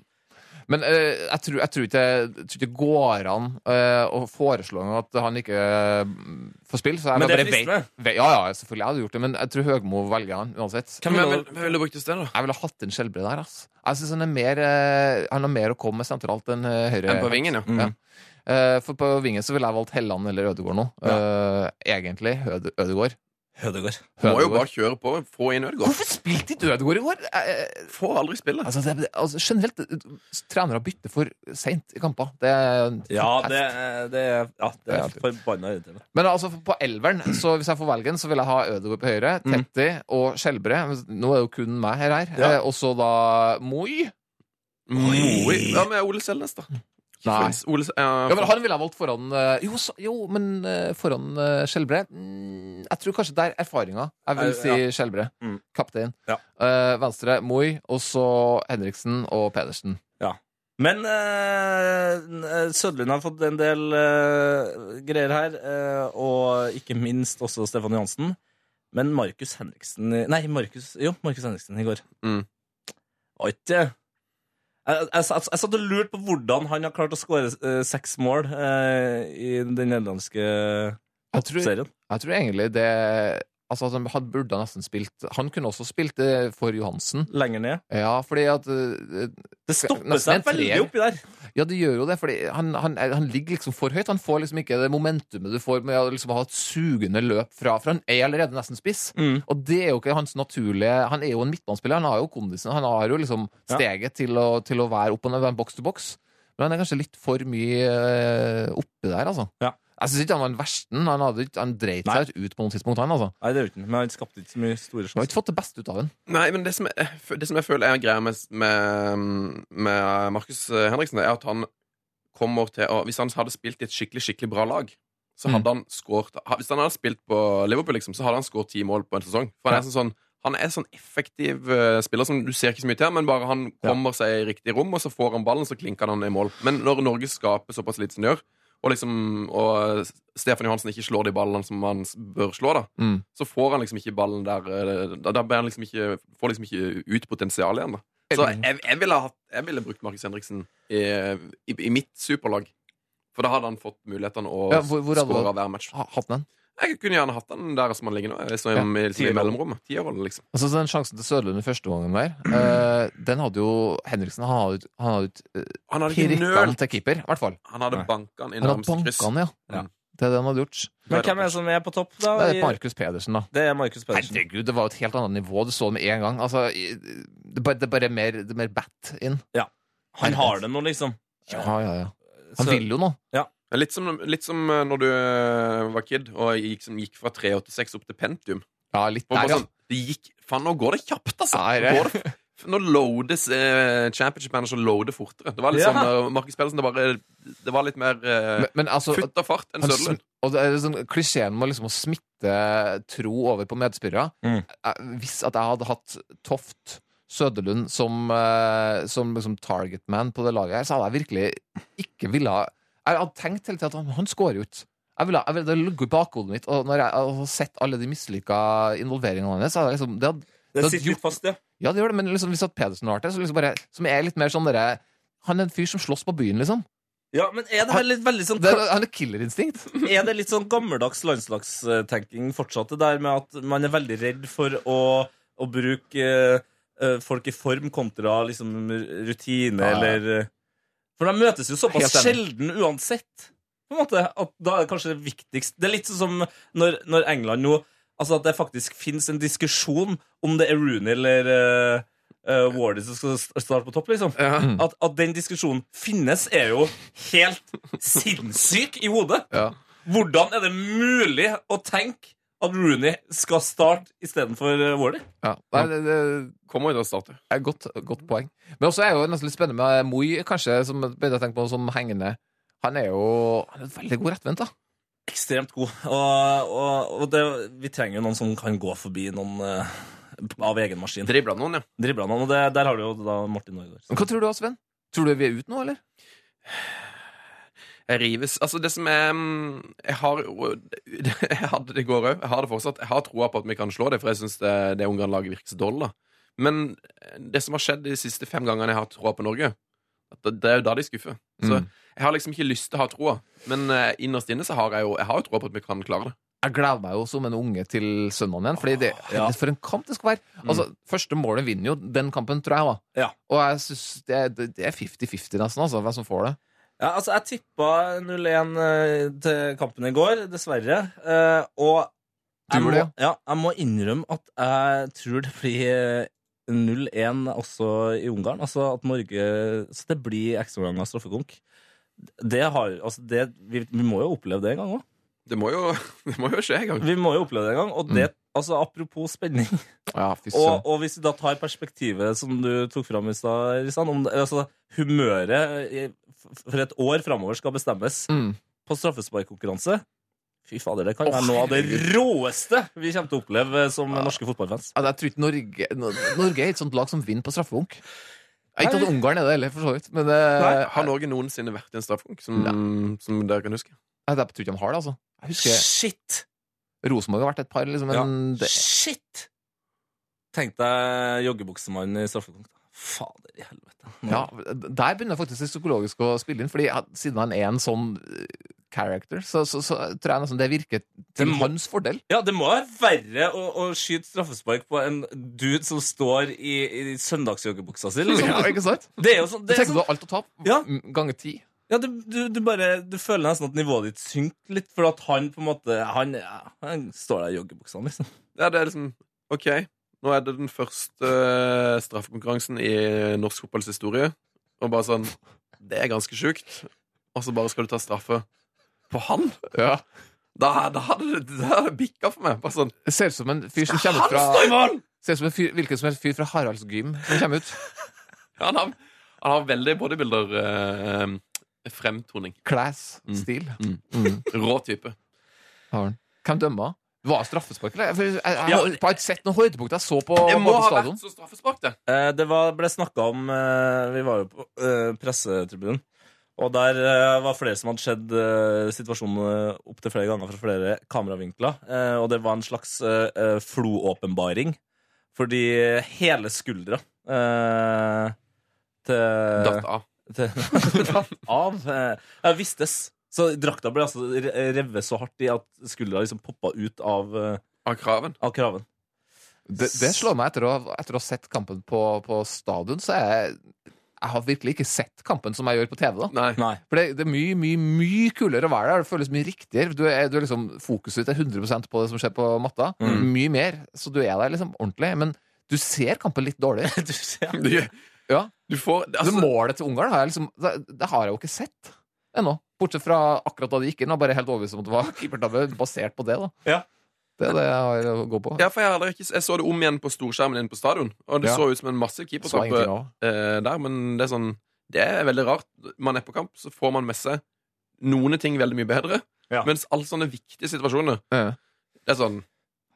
Men eh, jeg, tror, jeg, tror ikke, jeg tror ikke det går an eh, å foreslå noe at han ikke eh, får spille. Så jeg
Men det er
bare
fristende.
vet- vet- Ja, ja, selvfølgelig. Jeg hadde gjort det, men jeg tror Høgmo velger han uansett.
Hvem
Men
ville-
hvem- hvem ville du brukt i stedet? da?
Jeg ville hatt en Skjelbre der, ass. Jeg synes han, er mer, eh, han har mer å komme med sentralt enn eh, høyre.
Enn på vingen, ja.
ja. Eh, for på vingen så ville jeg valgt Helland eller Ødegård nå. Eh, egentlig Øde, Ødegård.
Hødegård.
Må jo
Ødegård.
bare kjøre på. Få inn Ødegaard.
Hvorfor spilte ikke Ødegård i går? Eh, eh,
Får aldri spille.
altså, det, det- altså, generelt, eh, trenere bytter for seint i kamper. Det er
Ja,
forferdelig.
det, eh, det, er- ja, det
Ja,
er
det-
forbanna irriterende.
Men altså, på elveren, så hvis jeg får velgen, så vil jeg ha Ødegaard på høyre, Tetti og Skjelbre. Nå er det jo kun meg her. her.
Mm. Ja.
Eh, og så da Moi.
Moi. Hva med Ole Selnes, da?
Nei.
Ole, Se-
Ja,
ja,
men Han ville jeg valgt foran eh, Jo, så, jo men eh, foran eh, Skjelbre mm, Jeg tror kanskje der erfaringa. Jeg vil
Eh,
si Skjelbre.
Mm.
Kaptein.
Ja.
Eh, venstre Moi, og så Henriksen og Pedersen.
Men eh, Sødlund har fått en del eh, greier her, eh, og ikke minst også Stefan Johansen. Men Markus Henriksen i- Nei, Markus, jo, Markus Henriksen i går.
Mm.
Var ikke jeg, jeg, jeg, jeg satt og lurte på hvordan han har klart å skåre eh, seks mål eh, i den nederlandske
Jeg tror,
serien.
jeg tror egentlig det Altså, at han had- burde nesten spilt Han kunne også spilt det for Johansen.
Lenger ned.
Ja, fordi at eh,
Det stopper
Nesten en
seg veldig
treer.
oppi der.
Ja, det gjør jo det, fordi han, han, er- han ligger liksom for høyt. Han får liksom ikke det momentumet du får med å liksom ha et sugende løp fra, for han er allerede nesten spiss.
Mm.
Og det er jo ikke hans naturlige Han er jo en midtbanespiller, han har jo kondisen, han har jo liksom
Ja.
steget til, å, til å være opp og ned, være boks til boks. Men han er kanskje litt for mye eh, oppe der, altså.
Ja.
Jeg syns ikke han var en versten. Han, hadde, ikke- han dreit seg ut på noe tidspunkt, han, altså.
Nei, det er jo ikke den, men han skapte ikke så mye store
Han har
sjanser.
ikke fått det beste ut av ham.
Nei, men det som, jeg, det som jeg føler er greia med, med, med Markus Henriksen, er at han kommer til å Hvis han hadde spilt i et skikkelig, skikkelig bra lag, så
Mm.
hadde han skåret Hvis han hadde spilt på Liverpool, liksom, så hadde han skåret ti mål på en sesong. For han er sånn, sånn han er sånn effektiv eh, spiller som du ser ikke så mye til, men bare han kommer seg i riktig rom, og så får han ballen, så klinker han i mål. Men når Norge skaper såpass lite som de gjør, og liksom og Stefan Johansen ikke slår de ballene som han s- bør slå, da,
Mm.
så får han liksom ikke ballen der eh, Da, da blir han liksom ikke, får liksom ikke ut potensialet igjen. Da. Så jeg, jeg, ville ha hatt, jeg ville brukt Markus Henriksen i, i, i mitt superlag. For da hadde han fått mulighetene å
Ja, hvor- hvor hadde
skåre
du-
hver match.
Hatt den?
Jeg kunne gjerne hatt den der som han ligger nå. Som
Ja,
i, liksom, i
tierrolle.
mellomrommet. Tierrolle, liksom.
Altså Den sjansen til Sørlund i første gangen der, eh, den hadde jo Henriksen Han hadde, jo- han hadde, jo, eh,
Han hadde ikke
pirket
nølt.
den til keeper, i hvert fall.
Han hadde
Nei.
banka han i
Han hadde
nærmeste
banka
kryss.
han, ja. Det er det han hadde gjort.
Men hvem er det som er på topp, da?
Det
i-
er Markus Pedersen, da.
Det er Markus Pedersen.
Herregud, det var jo et helt annet nivå. Du så det med en gang. Altså, i- det er bare, det er bare mer, det er mer bat inn.
Ja. Han har det nå, liksom.
Ja, ja, ja. Han
Så-
vil jo nå.
Ja, Litt som, litt som eh, når du eh, var kid og gikk, som gikk fra 386 opp til Pentium.
Ja, litt
Og bare
der, ja.
sånn, det gikk, faen, nå går det kjapt, altså!
Ja,
Nå,
det-
går det, f- nå loades eh, Championship Manager loader fortere. Det var litt
Ja.
sånn eh, Markus Pedersen, det, bare, det var litt mer eh,
Men, men altså
futt av fart enn
han
Søderlund.
sm- Og det er sånn klisjeen med liksom å smitte tro over på medspillere.
Mm.
Jeg- Hvis at jeg hadde hatt Toft Søderlund som, eh, som liksom targetman på det laget her, så hadde jeg virkelig ikke ville ha Jeg hadde tenkt hele tiden at han- han scorer jo ikke. Jeg ville, jeg ville, det ligger i bakhodet mitt, og når jeg har sett alle de mislykka involveringene hans, så hadde jeg liksom, det hadde
Det
Da-
sitter litt fast, ja.
Ja, det gjør det, men liksom, hvis at Pedersen har vært det, så liksom bare, som er litt mer sånn derre Han er en fyr som slåss på byen, liksom.
ja. Men er det her litt veldig sånn
Det, er- han er killerinstinkt.
Er det litt sånn gammeldags landslagstenking fortsatt, det der med at man er veldig redd for å, å bruke eh, eh, folk i form kontra liksom rutine
Ja, ja.
eller eh, For de møtes jo såpass
Helt
sjelden uansett, på en måte, at da er det kanskje det viktigst Det er litt sånn som når, når England nå Altså at det faktisk fins en diskusjon om det er Rooney eller uh, Wardy som skal st- starte på topp, liksom. At, at den diskusjonen finnes, er jo helt sinnssyk i hodet.
Ja.
Hvordan er det mulig å tenke at Rooney skal starte istedenfor eh, Warley?
Ja. Nei, det, det
Kommer jo til å starte.
er et godt, godt poeng. Men også er jo nesten litt spennende med Moi, kanskje, som jeg begynte å tenke på som hengende. Han er jo han er veldig god rettvendt, da.
Ekstremt god. Og, og, og det, vi trenger jo noen som kan gå forbi noen eh, av egen maskin.
Dribla noen, ja.
Dribla noen, og det, der har du jo da Martin
Men
Norgård.
Hva tror du, da, Sven? Tror du vi er ute nå, eller?
Jeg rives. Altså, det som er mm, Jeg har jo- Jeg hadde det i går òg. Jeg har det fortsatt. Jeg har troa på at vi kan slå det, for jeg syns det, det Ungarn-laget virker så dårlig. da. Men eh, det som har skjedd de siste fem gangene jeg har hatt troa på Norge, at det, det er jo da de skuffer. Så
Mm.
jeg har liksom ikke lyst til å ha troa. Men eh, innerst inne så har jeg jo Jeg har jo troa på at vi kan klare det.
Jeg gleder meg jo som en unge til søndagen igjen. Fordi det,
Ja. Mm.
For en kamp det skal være! Altså, Første målet vinner jo den kampen, tror jeg. da
Ja.
Og jeg synes det, er- det, det er 50-50 nesten, altså, hvem som får det.
Ja, altså, jeg tippa 0-1 eh, til kampen i går, dessverre. Eh, og
Du
jeg må,
gjorde det,
ja, jeg må innrømme at jeg tror det blir 0-1 også i Ungarn. Altså at Norge Så det blir ekstraomgang av straffekonk. Det har, altså det, vi, vi må jo oppleve det en gang òg.
Det må jo, det må jo skje en gang.
Vi må jo oppleve det en gang. Og
Mm.
det, altså apropos spenning
Ja, fy søren.
og, og hvis du da tar perspektivet som du tok fram i stad, Risan, om det- altså, humøret i- f- for et år framover skal bestemmes
Mm.
på straffesparkkonkurranse Fy fader, det kan
Å,
være noe av det råeste vi kommer til å oppleve som norske fotballfans.
Ja, Altså, Jeg tror ikke Norge Nor- Norge er et sånt lag som vinner på straffebunk. Ja, Ikke at Ungarn er det heller, for så vidt. Men eh,
Har Norge noensinne vært i en straffekonk, som, som dere kan huske?
jeg, jeg tror ikke de har det, altså. Jeg husker
Shit!
Rosenborg har vært et par, liksom. Men det,
Shit! Tenk deg joggebuksemann i straffekonk. da. Fader i helvete. Nå-
ja, der begynner faktisk det psykologiske å spille inn, Fordi ja, siden han er en sånn eh, character, så, så, så tror jeg nesten det virker til
Det må-
hans fordel.
Ja, det må være verre å, å skyte straffespark på en dude som står i, i søndagsjoggebuksa si. Liksom.
Ja, ikke sant?
Det er jo sånn,
Du
det er
tenker du
sånn
har alt å tape?
Ja.
m- Ganger ti?
ja, du, du, du bare Du føler nesten at nivået ditt synker litt, for at han på en måte Han, ja, han står der i joggebuksa, liksom.
Ja, det er liksom OK, nå er det den første eh, straffekonkurransen i norsk fotballs historie. Og bare sånn Det er ganske sjukt. Og så bare skal du ta straffe på han?
Ja.
Da, da hadde det, det hadde bikka for meg. Bare sånn
Det ser ut som en fyr som kommer ut fra Ser ut som en fyr, hvilken som helst fyr fra Haralds gym som kommer ut.
Han har, han har veldig eh, bodybuilder-fremtoning.
Class-stil.
Mm. Rå type.
Mm. Har han. Hvem dømmer? Det var straffespark, eller? For Jeg, jeg, jeg, har ikke sett noen høydepunkt jeg så på,
Det må
på
ha
stadion.
vært så straffespark, det.
Eh, det var, ble snakka om eh, Vi var jo på eh, pressetribunen. Og der eh, var flere som hadde sett eh, situasjonen eh, opp opptil flere ganger fra flere kameravinkler. Eh, og det var en slags eh, eh, floåpenbaring. Fordi hele skuldra eh, til
Datt av.
Til, datt av. eh, Jeg vistes. Så drakta ble altså re- revet så hardt i at skuldra liksom poppa ut av eh,
kraven.
Av kraven.
Det, det slår meg etter å, etter å ha sett kampen på, på stadion, så er jeg jeg har virkelig ikke sett kampen som jeg gjør på TV. da For det, det er mye mye, mye kulere å være der. Det føles mye riktigere. Du er, du er liksom, fokuset ditt er 100 på det som skjer på matta.
Mm.
Mye mer. Så du er der liksom ordentlig. Men du ser kampen litt dårlig.
du ser
Du,
ja.
du får
altså, Målet til Ungarn har jeg liksom det, det har jeg jo ikke sett ennå. Bortsett fra akkurat da de gikk inn. Jeg er bare helt overbevist om at det var keepertabbe basert på det. da
Ja.
Det er det jeg har å gå på.
Ja, for jeg, har aldri ikke, jeg så det om igjen på storskjermen inne på stadion, og det
Ja.
så ut som en massiv
Så
keepertabbe
ingenting av.
eh, der, men det er sånn Det er veldig rart. Man er på kamp, så får man med seg noen ting veldig mye bedre,
Ja.
mens alle sånne viktige situasjoner
Ja.
Det er sånn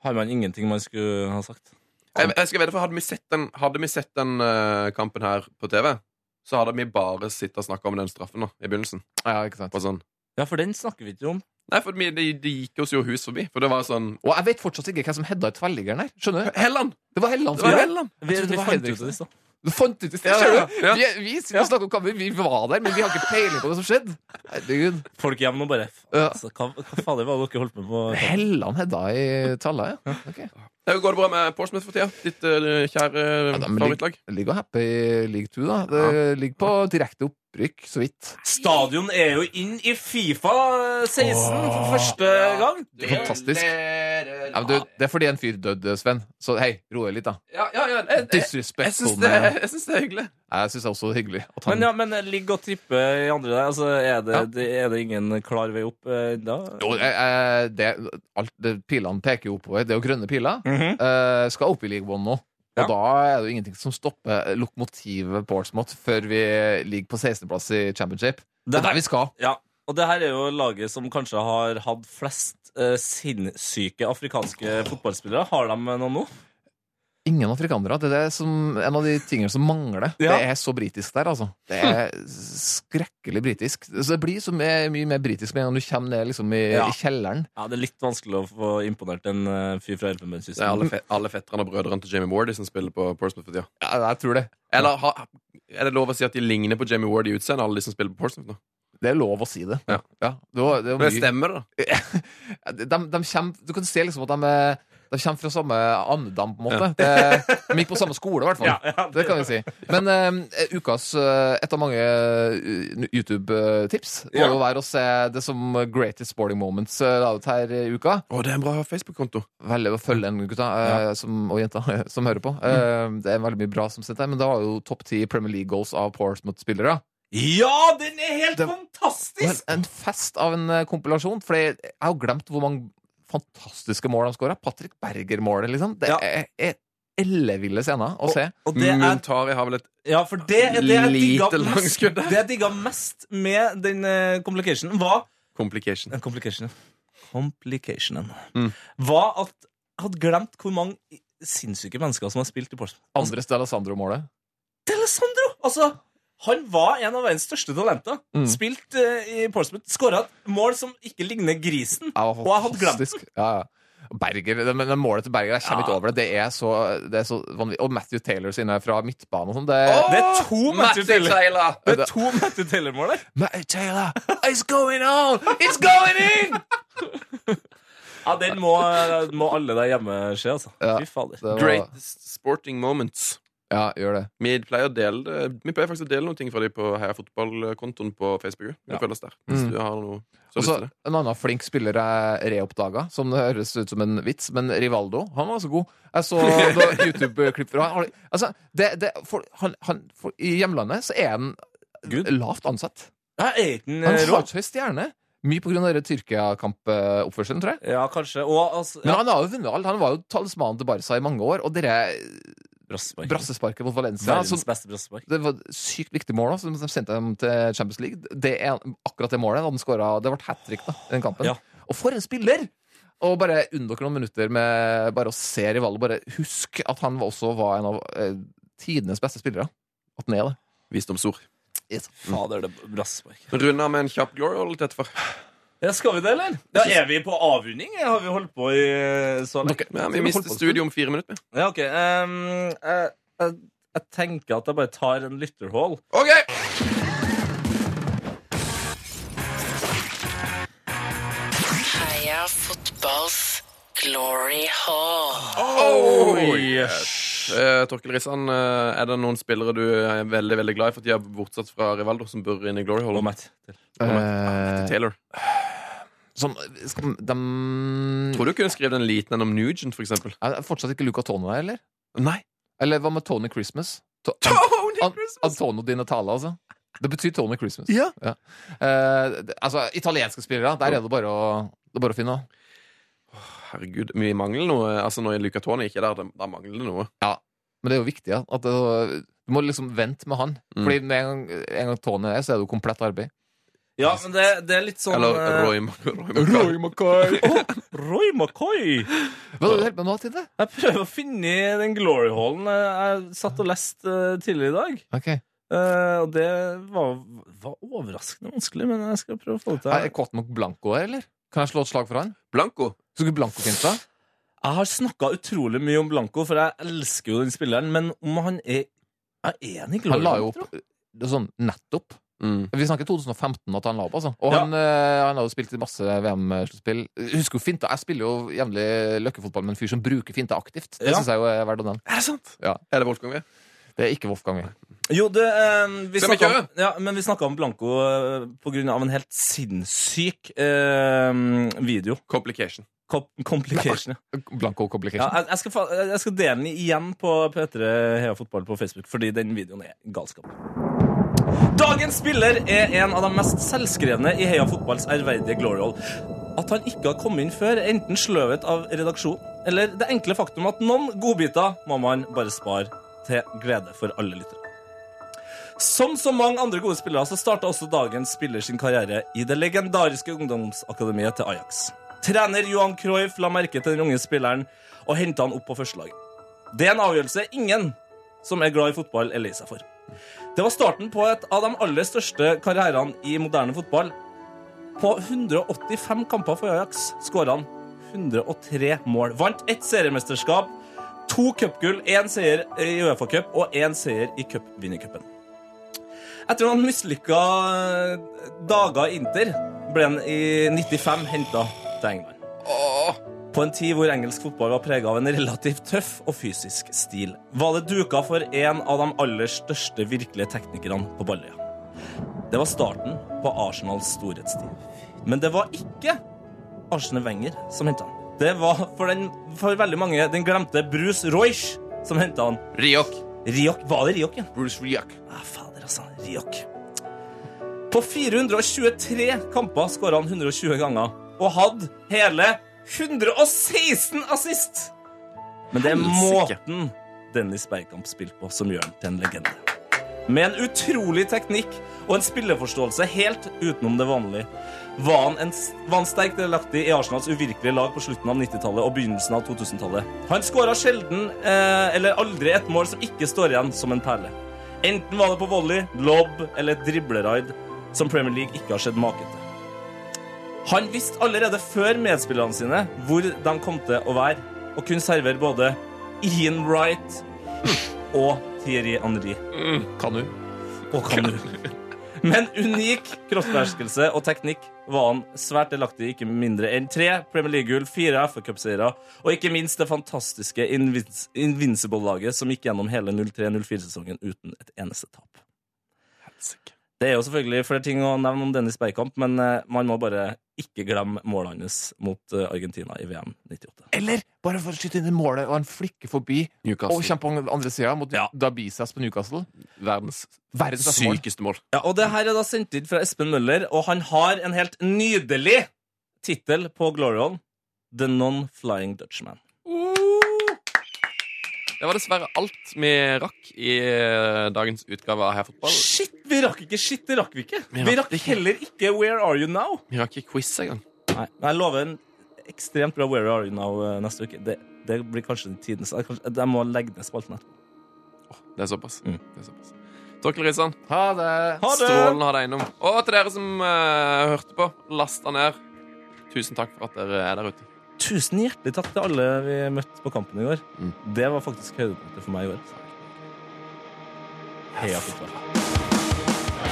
Har man ingenting man skulle ha sagt?
Jeg, jeg skal vedde for Hadde vi sett den, hadde vi sett den eh, kampen her på TV, så hadde vi bare sittet og snakka om den straffen da, i begynnelsen.
Ja, ikke sant.
Og sånn.
Ja, for den snakker vi ikke om.
Nei, for vi- det de gikk oss jo hus forbi. For det var sånn
Og jeg vet fortsatt ikke hvem som hedda i tverrliggeren her. Skjønner du?
Helland!
Det var Helland
Det
som
var
gjorde det.
Helland!
Vi,
Jeg trodde
vi
det var
fant ut av
Henriksen.
det i stad.
Du fant ut i sted,
Ja,
skjønner du?
ja.
Vi, vi sitter og snakker om kampen, vi var der, men vi har ikke peiling på det som skjedde. Herregud.
Folk hjemme nå bare
Ja.
altså, hva, hva fader var det dere holdt med på?
Helland hedda i talla, ja. Ok.
Eh, Går det bra med Porsmouth for tida? Ditt eh, kjære
Ja, da, men lig-
favorittlag?
Ligger og happy i league 2, da. Det ligger på direkte opprykk, så vidt.
Stadion er jo inn i Fifa 16 for første gang.
Fantastisk. Ja, men du, det er fordi en fyr døde, Sven. Så hei, ro deg litt, da.
Ja, ja, ja. Jeg, jeg, jeg
Disrespectful.
syns det,
man.
jeg syns det er hyggelig.
Jeg syns det er også hyggelig at han
Men, ja, men ligg og trippe i andre der. Altså, er, det,
Ja.
det, er det ingen klar vei opp eh, da?
Jo, eh, eh, det, alt, det, Pilene peker jo oppover. Det er jo grønne piler.
Mhm.
eh, skal opp i League One nå. Og
Ja.
da er det jo ingenting som stopper lokomotivet Portsmouth før vi ligger på 16.-plass i Championship. Det er der vi skal.
Ja, og det her er jo laget som kanskje har hatt flest eh, sinnssyke afrikanske fotballspillere. Har de noen nå?
Ingen afrikanere. Det er det som, en av de tingene som mangler.
Ja.
Det er så britisk der, altså. Det er skrekkelig britisk. Så det blir så mye, mye mer britisk med en gang du kommer ned liksom, i,
Ja.
i kjelleren.
Ja, Det er litt vanskelig å få imponert en eh, fyr fra Elfenbenskysten.
Det er alle, fe alle fetterne og brødrene til Jamie Wardy som spiller på Portsmouth for tida.
Ja, jeg tror det.
Eller ha, er det lov å si at de ligner på Jamie Wardy i utseendet, alle de som spiller på Portsmouth nå?
Det er lov å si det.
Ja.
det, var, det var
Men
mye-
stemmer det, da?
Ja, de, de kommer, du kan se liksom at de, er- de kommer fra samme andedam, på en måte. De, de gikk på samme skole, i hvert fall.
Ja, ja,
det, kan vi si. Men eh, ukas eh, et av mange eh, YouTube-tips må
Ja.
jo være å se det som Greatest Sporting Moments eh, la ut her i uka.
Å, det er en bra Facebook-konto.
Veldig å følge den gutta eh, som, og jenta som hører på. Eh, det er veldig mye bra som sitter der, men det var jo topp ti Premier League goals av Portsmouth-spillere.
Ja, den er helt
Men
fantastisk!
en fest av en eh, kompilasjon, for jeg jeg har jo glemt hvor mange fantastiske mål de skåra. Patrick Berger-målet, liksom. Det
Ja.
er, er elleville scener å se.
Og det er,
Muntari har vel et
ja, for det er det jeg digga
Mm. Lite
mest,
langskudd der.
det jeg digga mest med den eh, complicationen, var
complication.
eh, Complicationen. Complicationen.
Mm.
Var at jeg hadde glemt hvor mange i- sinnssyke mennesker som har spilt i Portsmouth. Altså,
Andre Stella Sandro-målet.
D'Alessandro! Altså, han var en av verdens største talenter.
Mm.
Spilt eh, i Portsmouth. Skåra et mål som ikke ligner grisen.
Ja,
Og jeg hadde glemt
fantastisk. Ja, ja. Berger, det, men det målet til Berger Jeg kommer
Ja.
ikke over det. Det er så, det er så vanvittig. Og Matthew Taylor sine fra midtbane og sånn. Det,
Det er to Matthew Taylor. Det er
Det-
to Matthew Taylor-mål der.
Matthew Taylor, it's going on! It's going in!
Ja, den må, må alle der hjemme se, altså.
Ja.
Fy fader.
Det var-
Greatest sporting moments.
Ja, gjør det.
Vi pleier, å dele, det- vi pleier faktisk å dele noen ting fra de på Heia Fotball-kontoen på Facebook. Vi
Ja.
følger oss der. Hvis
Mm.
du har noe så
Og så
lyst til det.
En annen flink spiller jeg reoppdaga, som det høres ut som en vits, men Rivaldo han var så god. Jeg så noen YouTube-klipp fra han. Altså, det, det, for, han, han for, I hjemlandet så er han
Gud.
lavt ansatt.
Ja, er ikke den
Han
eh,
har
rå?
ikke høy stjerne. Mye pga. Tyrkia-kampoppførselen, tror jeg.
Ja, kanskje. Og altså
Men han har jo vunnet alt. Han var jo talismanen til Barca i mange år. Og det der
Brassespark.
brassesparket mot Valencia
Verdens
som,
beste brassespark.
Det var et sykt viktig mål, da, som de sendte dem til Champions League. Det er akkurat det målet. Han skåret, det ble hat trick da, i den kampen.
Ja.
Og for en spiller! Og bare unn dere noen minutter med bare å se rivalet. Bare husk at han også var en av eh, tidenes beste spillere. At han er det.
Visdomsord.
Mm.
Fader, det er brassespark.
Runder med en kjapp Glorial etterfor.
Ja, skal vi det, eller? Ja, er vi på avrunding? Har vi holdt på i eh, så lenge?
Ja, vi mister studio om fire minutter.
Ja, ok. ehm, eh, eh, Jeg tenker at jeg bare tar en lytterhål.
Heia fotballs glory hall.
Eh, Torkel Rissan, eh, er det noen spillere du er veldig veldig glad i for tida, bortsett fra Rivaldo, som burde inn i Glory Hall? Og
Matt
Ah, Taylor.
Eh, Som, skal, de
Tror du kunne skrevet en liten en om Nugent, for eksempel?
Er det fortsatt ikke Luca Tone der, eller?
Nei.
Eller hva med Tony Christmas? To Tony Christmas! An Antonio Di Natale, altså. Det betyr Tony Christmas.
Ja.
Eh, det- altså, italienske spillere, der er det bare å, det er bare å finne.
Herregud, vi mangler noe. Altså, når Luca Toni ikke er der, da- da mangler det noe.
Ja, men det er jo viktig, ja. At det, du må liksom vente med han.
Mm.
Fordi med en gang, en gang Tony er, så er det jo komplett arbeid.
Ja, men det, det er litt sånn
Eller
eh,
Roy, Mc- Roy McCoy.
McCoy!
Roy McCoy!
Hva er det du holder på med nå, Tide?
Jeg prøver å finne den glory-hallen jeg satt og leste eh, tidligere i dag.
Ok.
Eh, og det var, var overraskende vanskelig, men jeg skal prøve å få det til.
Er Cotton Blanco her, eller? Kan jeg slå et slag for han?
Blanco.
Skulle Blanco finnes da?
Jeg har snakka utrolig mye om Blanco, for jeg elsker jo den spilleren, men om han er Jeg er enig i
Han la jo
Glory.
opp det er sånn nettopp.
Mm.
Vi snakker 2015 at han la opp, altså. Og
Ja.
han, eh, han har jo spilt i masse VM-sluttspill. Husker jo finta. Jeg spiller jo jevnlig løkkefotball med en fyr som bruker finta aktivt. Det
Ja.
synes jeg jo er verdt å nevne.
Er det sant?
Ja.
Er det Wolfgang V?
Det er ikke Wolfgang. Wien.
Jo, det, eh, vi
Skal vi
snakket om, ja, men vi snakka om Blanco eh, på grunn av en helt sinnssyk eh, video.
Complication.
Com complication.
Blanco
Ja,
Complication.
jeg, jeg, skal, fa- jeg skal dele den igjen på P3 Heia Fotball på Facebook, fordi den videoen er galskap. Dagens spiller er en av de mest selvskrevne i Heia Fotballs ærverdige glory hall. At han ikke har kommet inn før, er enten sløvet av redaksjon eller det enkle faktum at noen godbiter må man bare spare til glede for alle lyttere. Som så mange andre gode spillere så starta også dagens spiller sin karriere i det legendariske ungdomsakademiet til Ajax. Trener Johan Cruyff la merke til den unge spilleren og henta han opp på førstelaget. Det er en avgjørelse ingen som er glad i fotball, er lei seg for. Det var starten på et av de aller største karrierene i moderne fotball. På 185 kamper for Ajax skåra han 103 mål. Vant ett seriemesterskap, to cupgull, én seier i Uefa-cup og én seier i cupvinnercupen. Etter noen mislykka dager i Inter ble han i 95 henta til England. På en tid hvor engelsk fotball var prega av en relativt tøff og fysisk stil, var det duka for en av de aller største virkelige teknikerne på Balløya. Det var starten på Arsenals storhetstid. Men det var ikke Arsenal Wenger som henta han. Det var for, den, for veldig mange den glemte Bruce Royce som henta han.
Riok.
Riok, Var det Riok, ja?
Bruce Riok.
Ah, fader, altså. Riok. På 423 kamper skåra han 120 ganger og hadde hele 116 assist! Men det er
Helsike.
måten Dennis Bergkamp spilte på, som gjør han til en legende. Med en utrolig teknikk og en spilleforståelse helt utenom det vanlige var han, en, var han sterkt delaktig i Arsenals uvirkelige lag på slutten av 90-tallet og begynnelsen av 2000-tallet. Han skåra sjelden eh, eller aldri et mål som ikke står igjen som en perle. Enten var det på volley, lobb eller et dribleraid som Premier League ikke har sett maken til. Han visste allerede før medspillerne sine hvor de kom til å være, og kunne servere både Ian Wright og Thierry Henry.
Kan du?
Mm. Og kan du. Men unik kroppsbeherskelse og teknikk var han svært delaktig i ikke mindre enn tre Premier League-gull, fire FA-cupseiere og ikke minst det fantastiske Invin- Invincible-laget som gikk gjennom hele 03-04-sesongen uten et eneste tap. Det er jo selvfølgelig flere ting å nevne om Dennis Bergkamp, men eh, man må bare ikke glemme målet hans mot eh, Argentina i VM 98.
Eller bare for å skyte inn i målet, og han flikker forbi
Newcastle.
og kjemper på andre sida mot
Ja.
Dabisas på Newcastle.
Verdens
Verdens beste mål.
sykeste mål.
Ja, og det her er da sendt inn fra Espen Møller, og han har en helt nydelig tittel på Glorion. The Non-Flying Dutchman.
Det var dessverre alt vi rakk i eh, dagens utgave av Her fotball.
Shit, vi rakk ikke shit, det rakk vi ikke.
Vi
Vi
rakk
rakk heller ikke Where Are You Now.
Vi rakk ikke quiz engang.
Nei, men jeg lover en ekstremt bra Where Are You Now eh, neste uke. Det, det blir kanskje den tidens jeg kanskje- Jeg må legge ned spalten her.
Det er såpass.
Mm.
Det er såpass. Torkel Risan,
Ha det!
Ha det!
strålende å ha deg innom. Og til dere som eh, hørte på, lasta ned. Tusen takk for at dere er der ute.
Tusen hjertelig Mm. takk til alle vi møtte på kampen i går. Det var faktisk høydepunktet for meg i år. Heia fotball.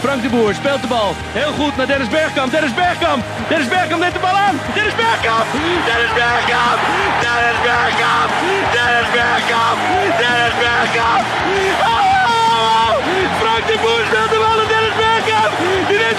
Frank de Boer speelt de bal. Heel goed naar Dennis Bergkamp. Dennis Bergkamp. Dennis Bergkamp neemt de bal aan. Dennis Bergkamp. Dennis Bergkamp. Dennis Bergkamp. Dennis Bergkamp. Dennis Bergkamp. Oh, oh, oh. Frank de Boer speelt de bal naar Dennis Bergkamp. Die neemt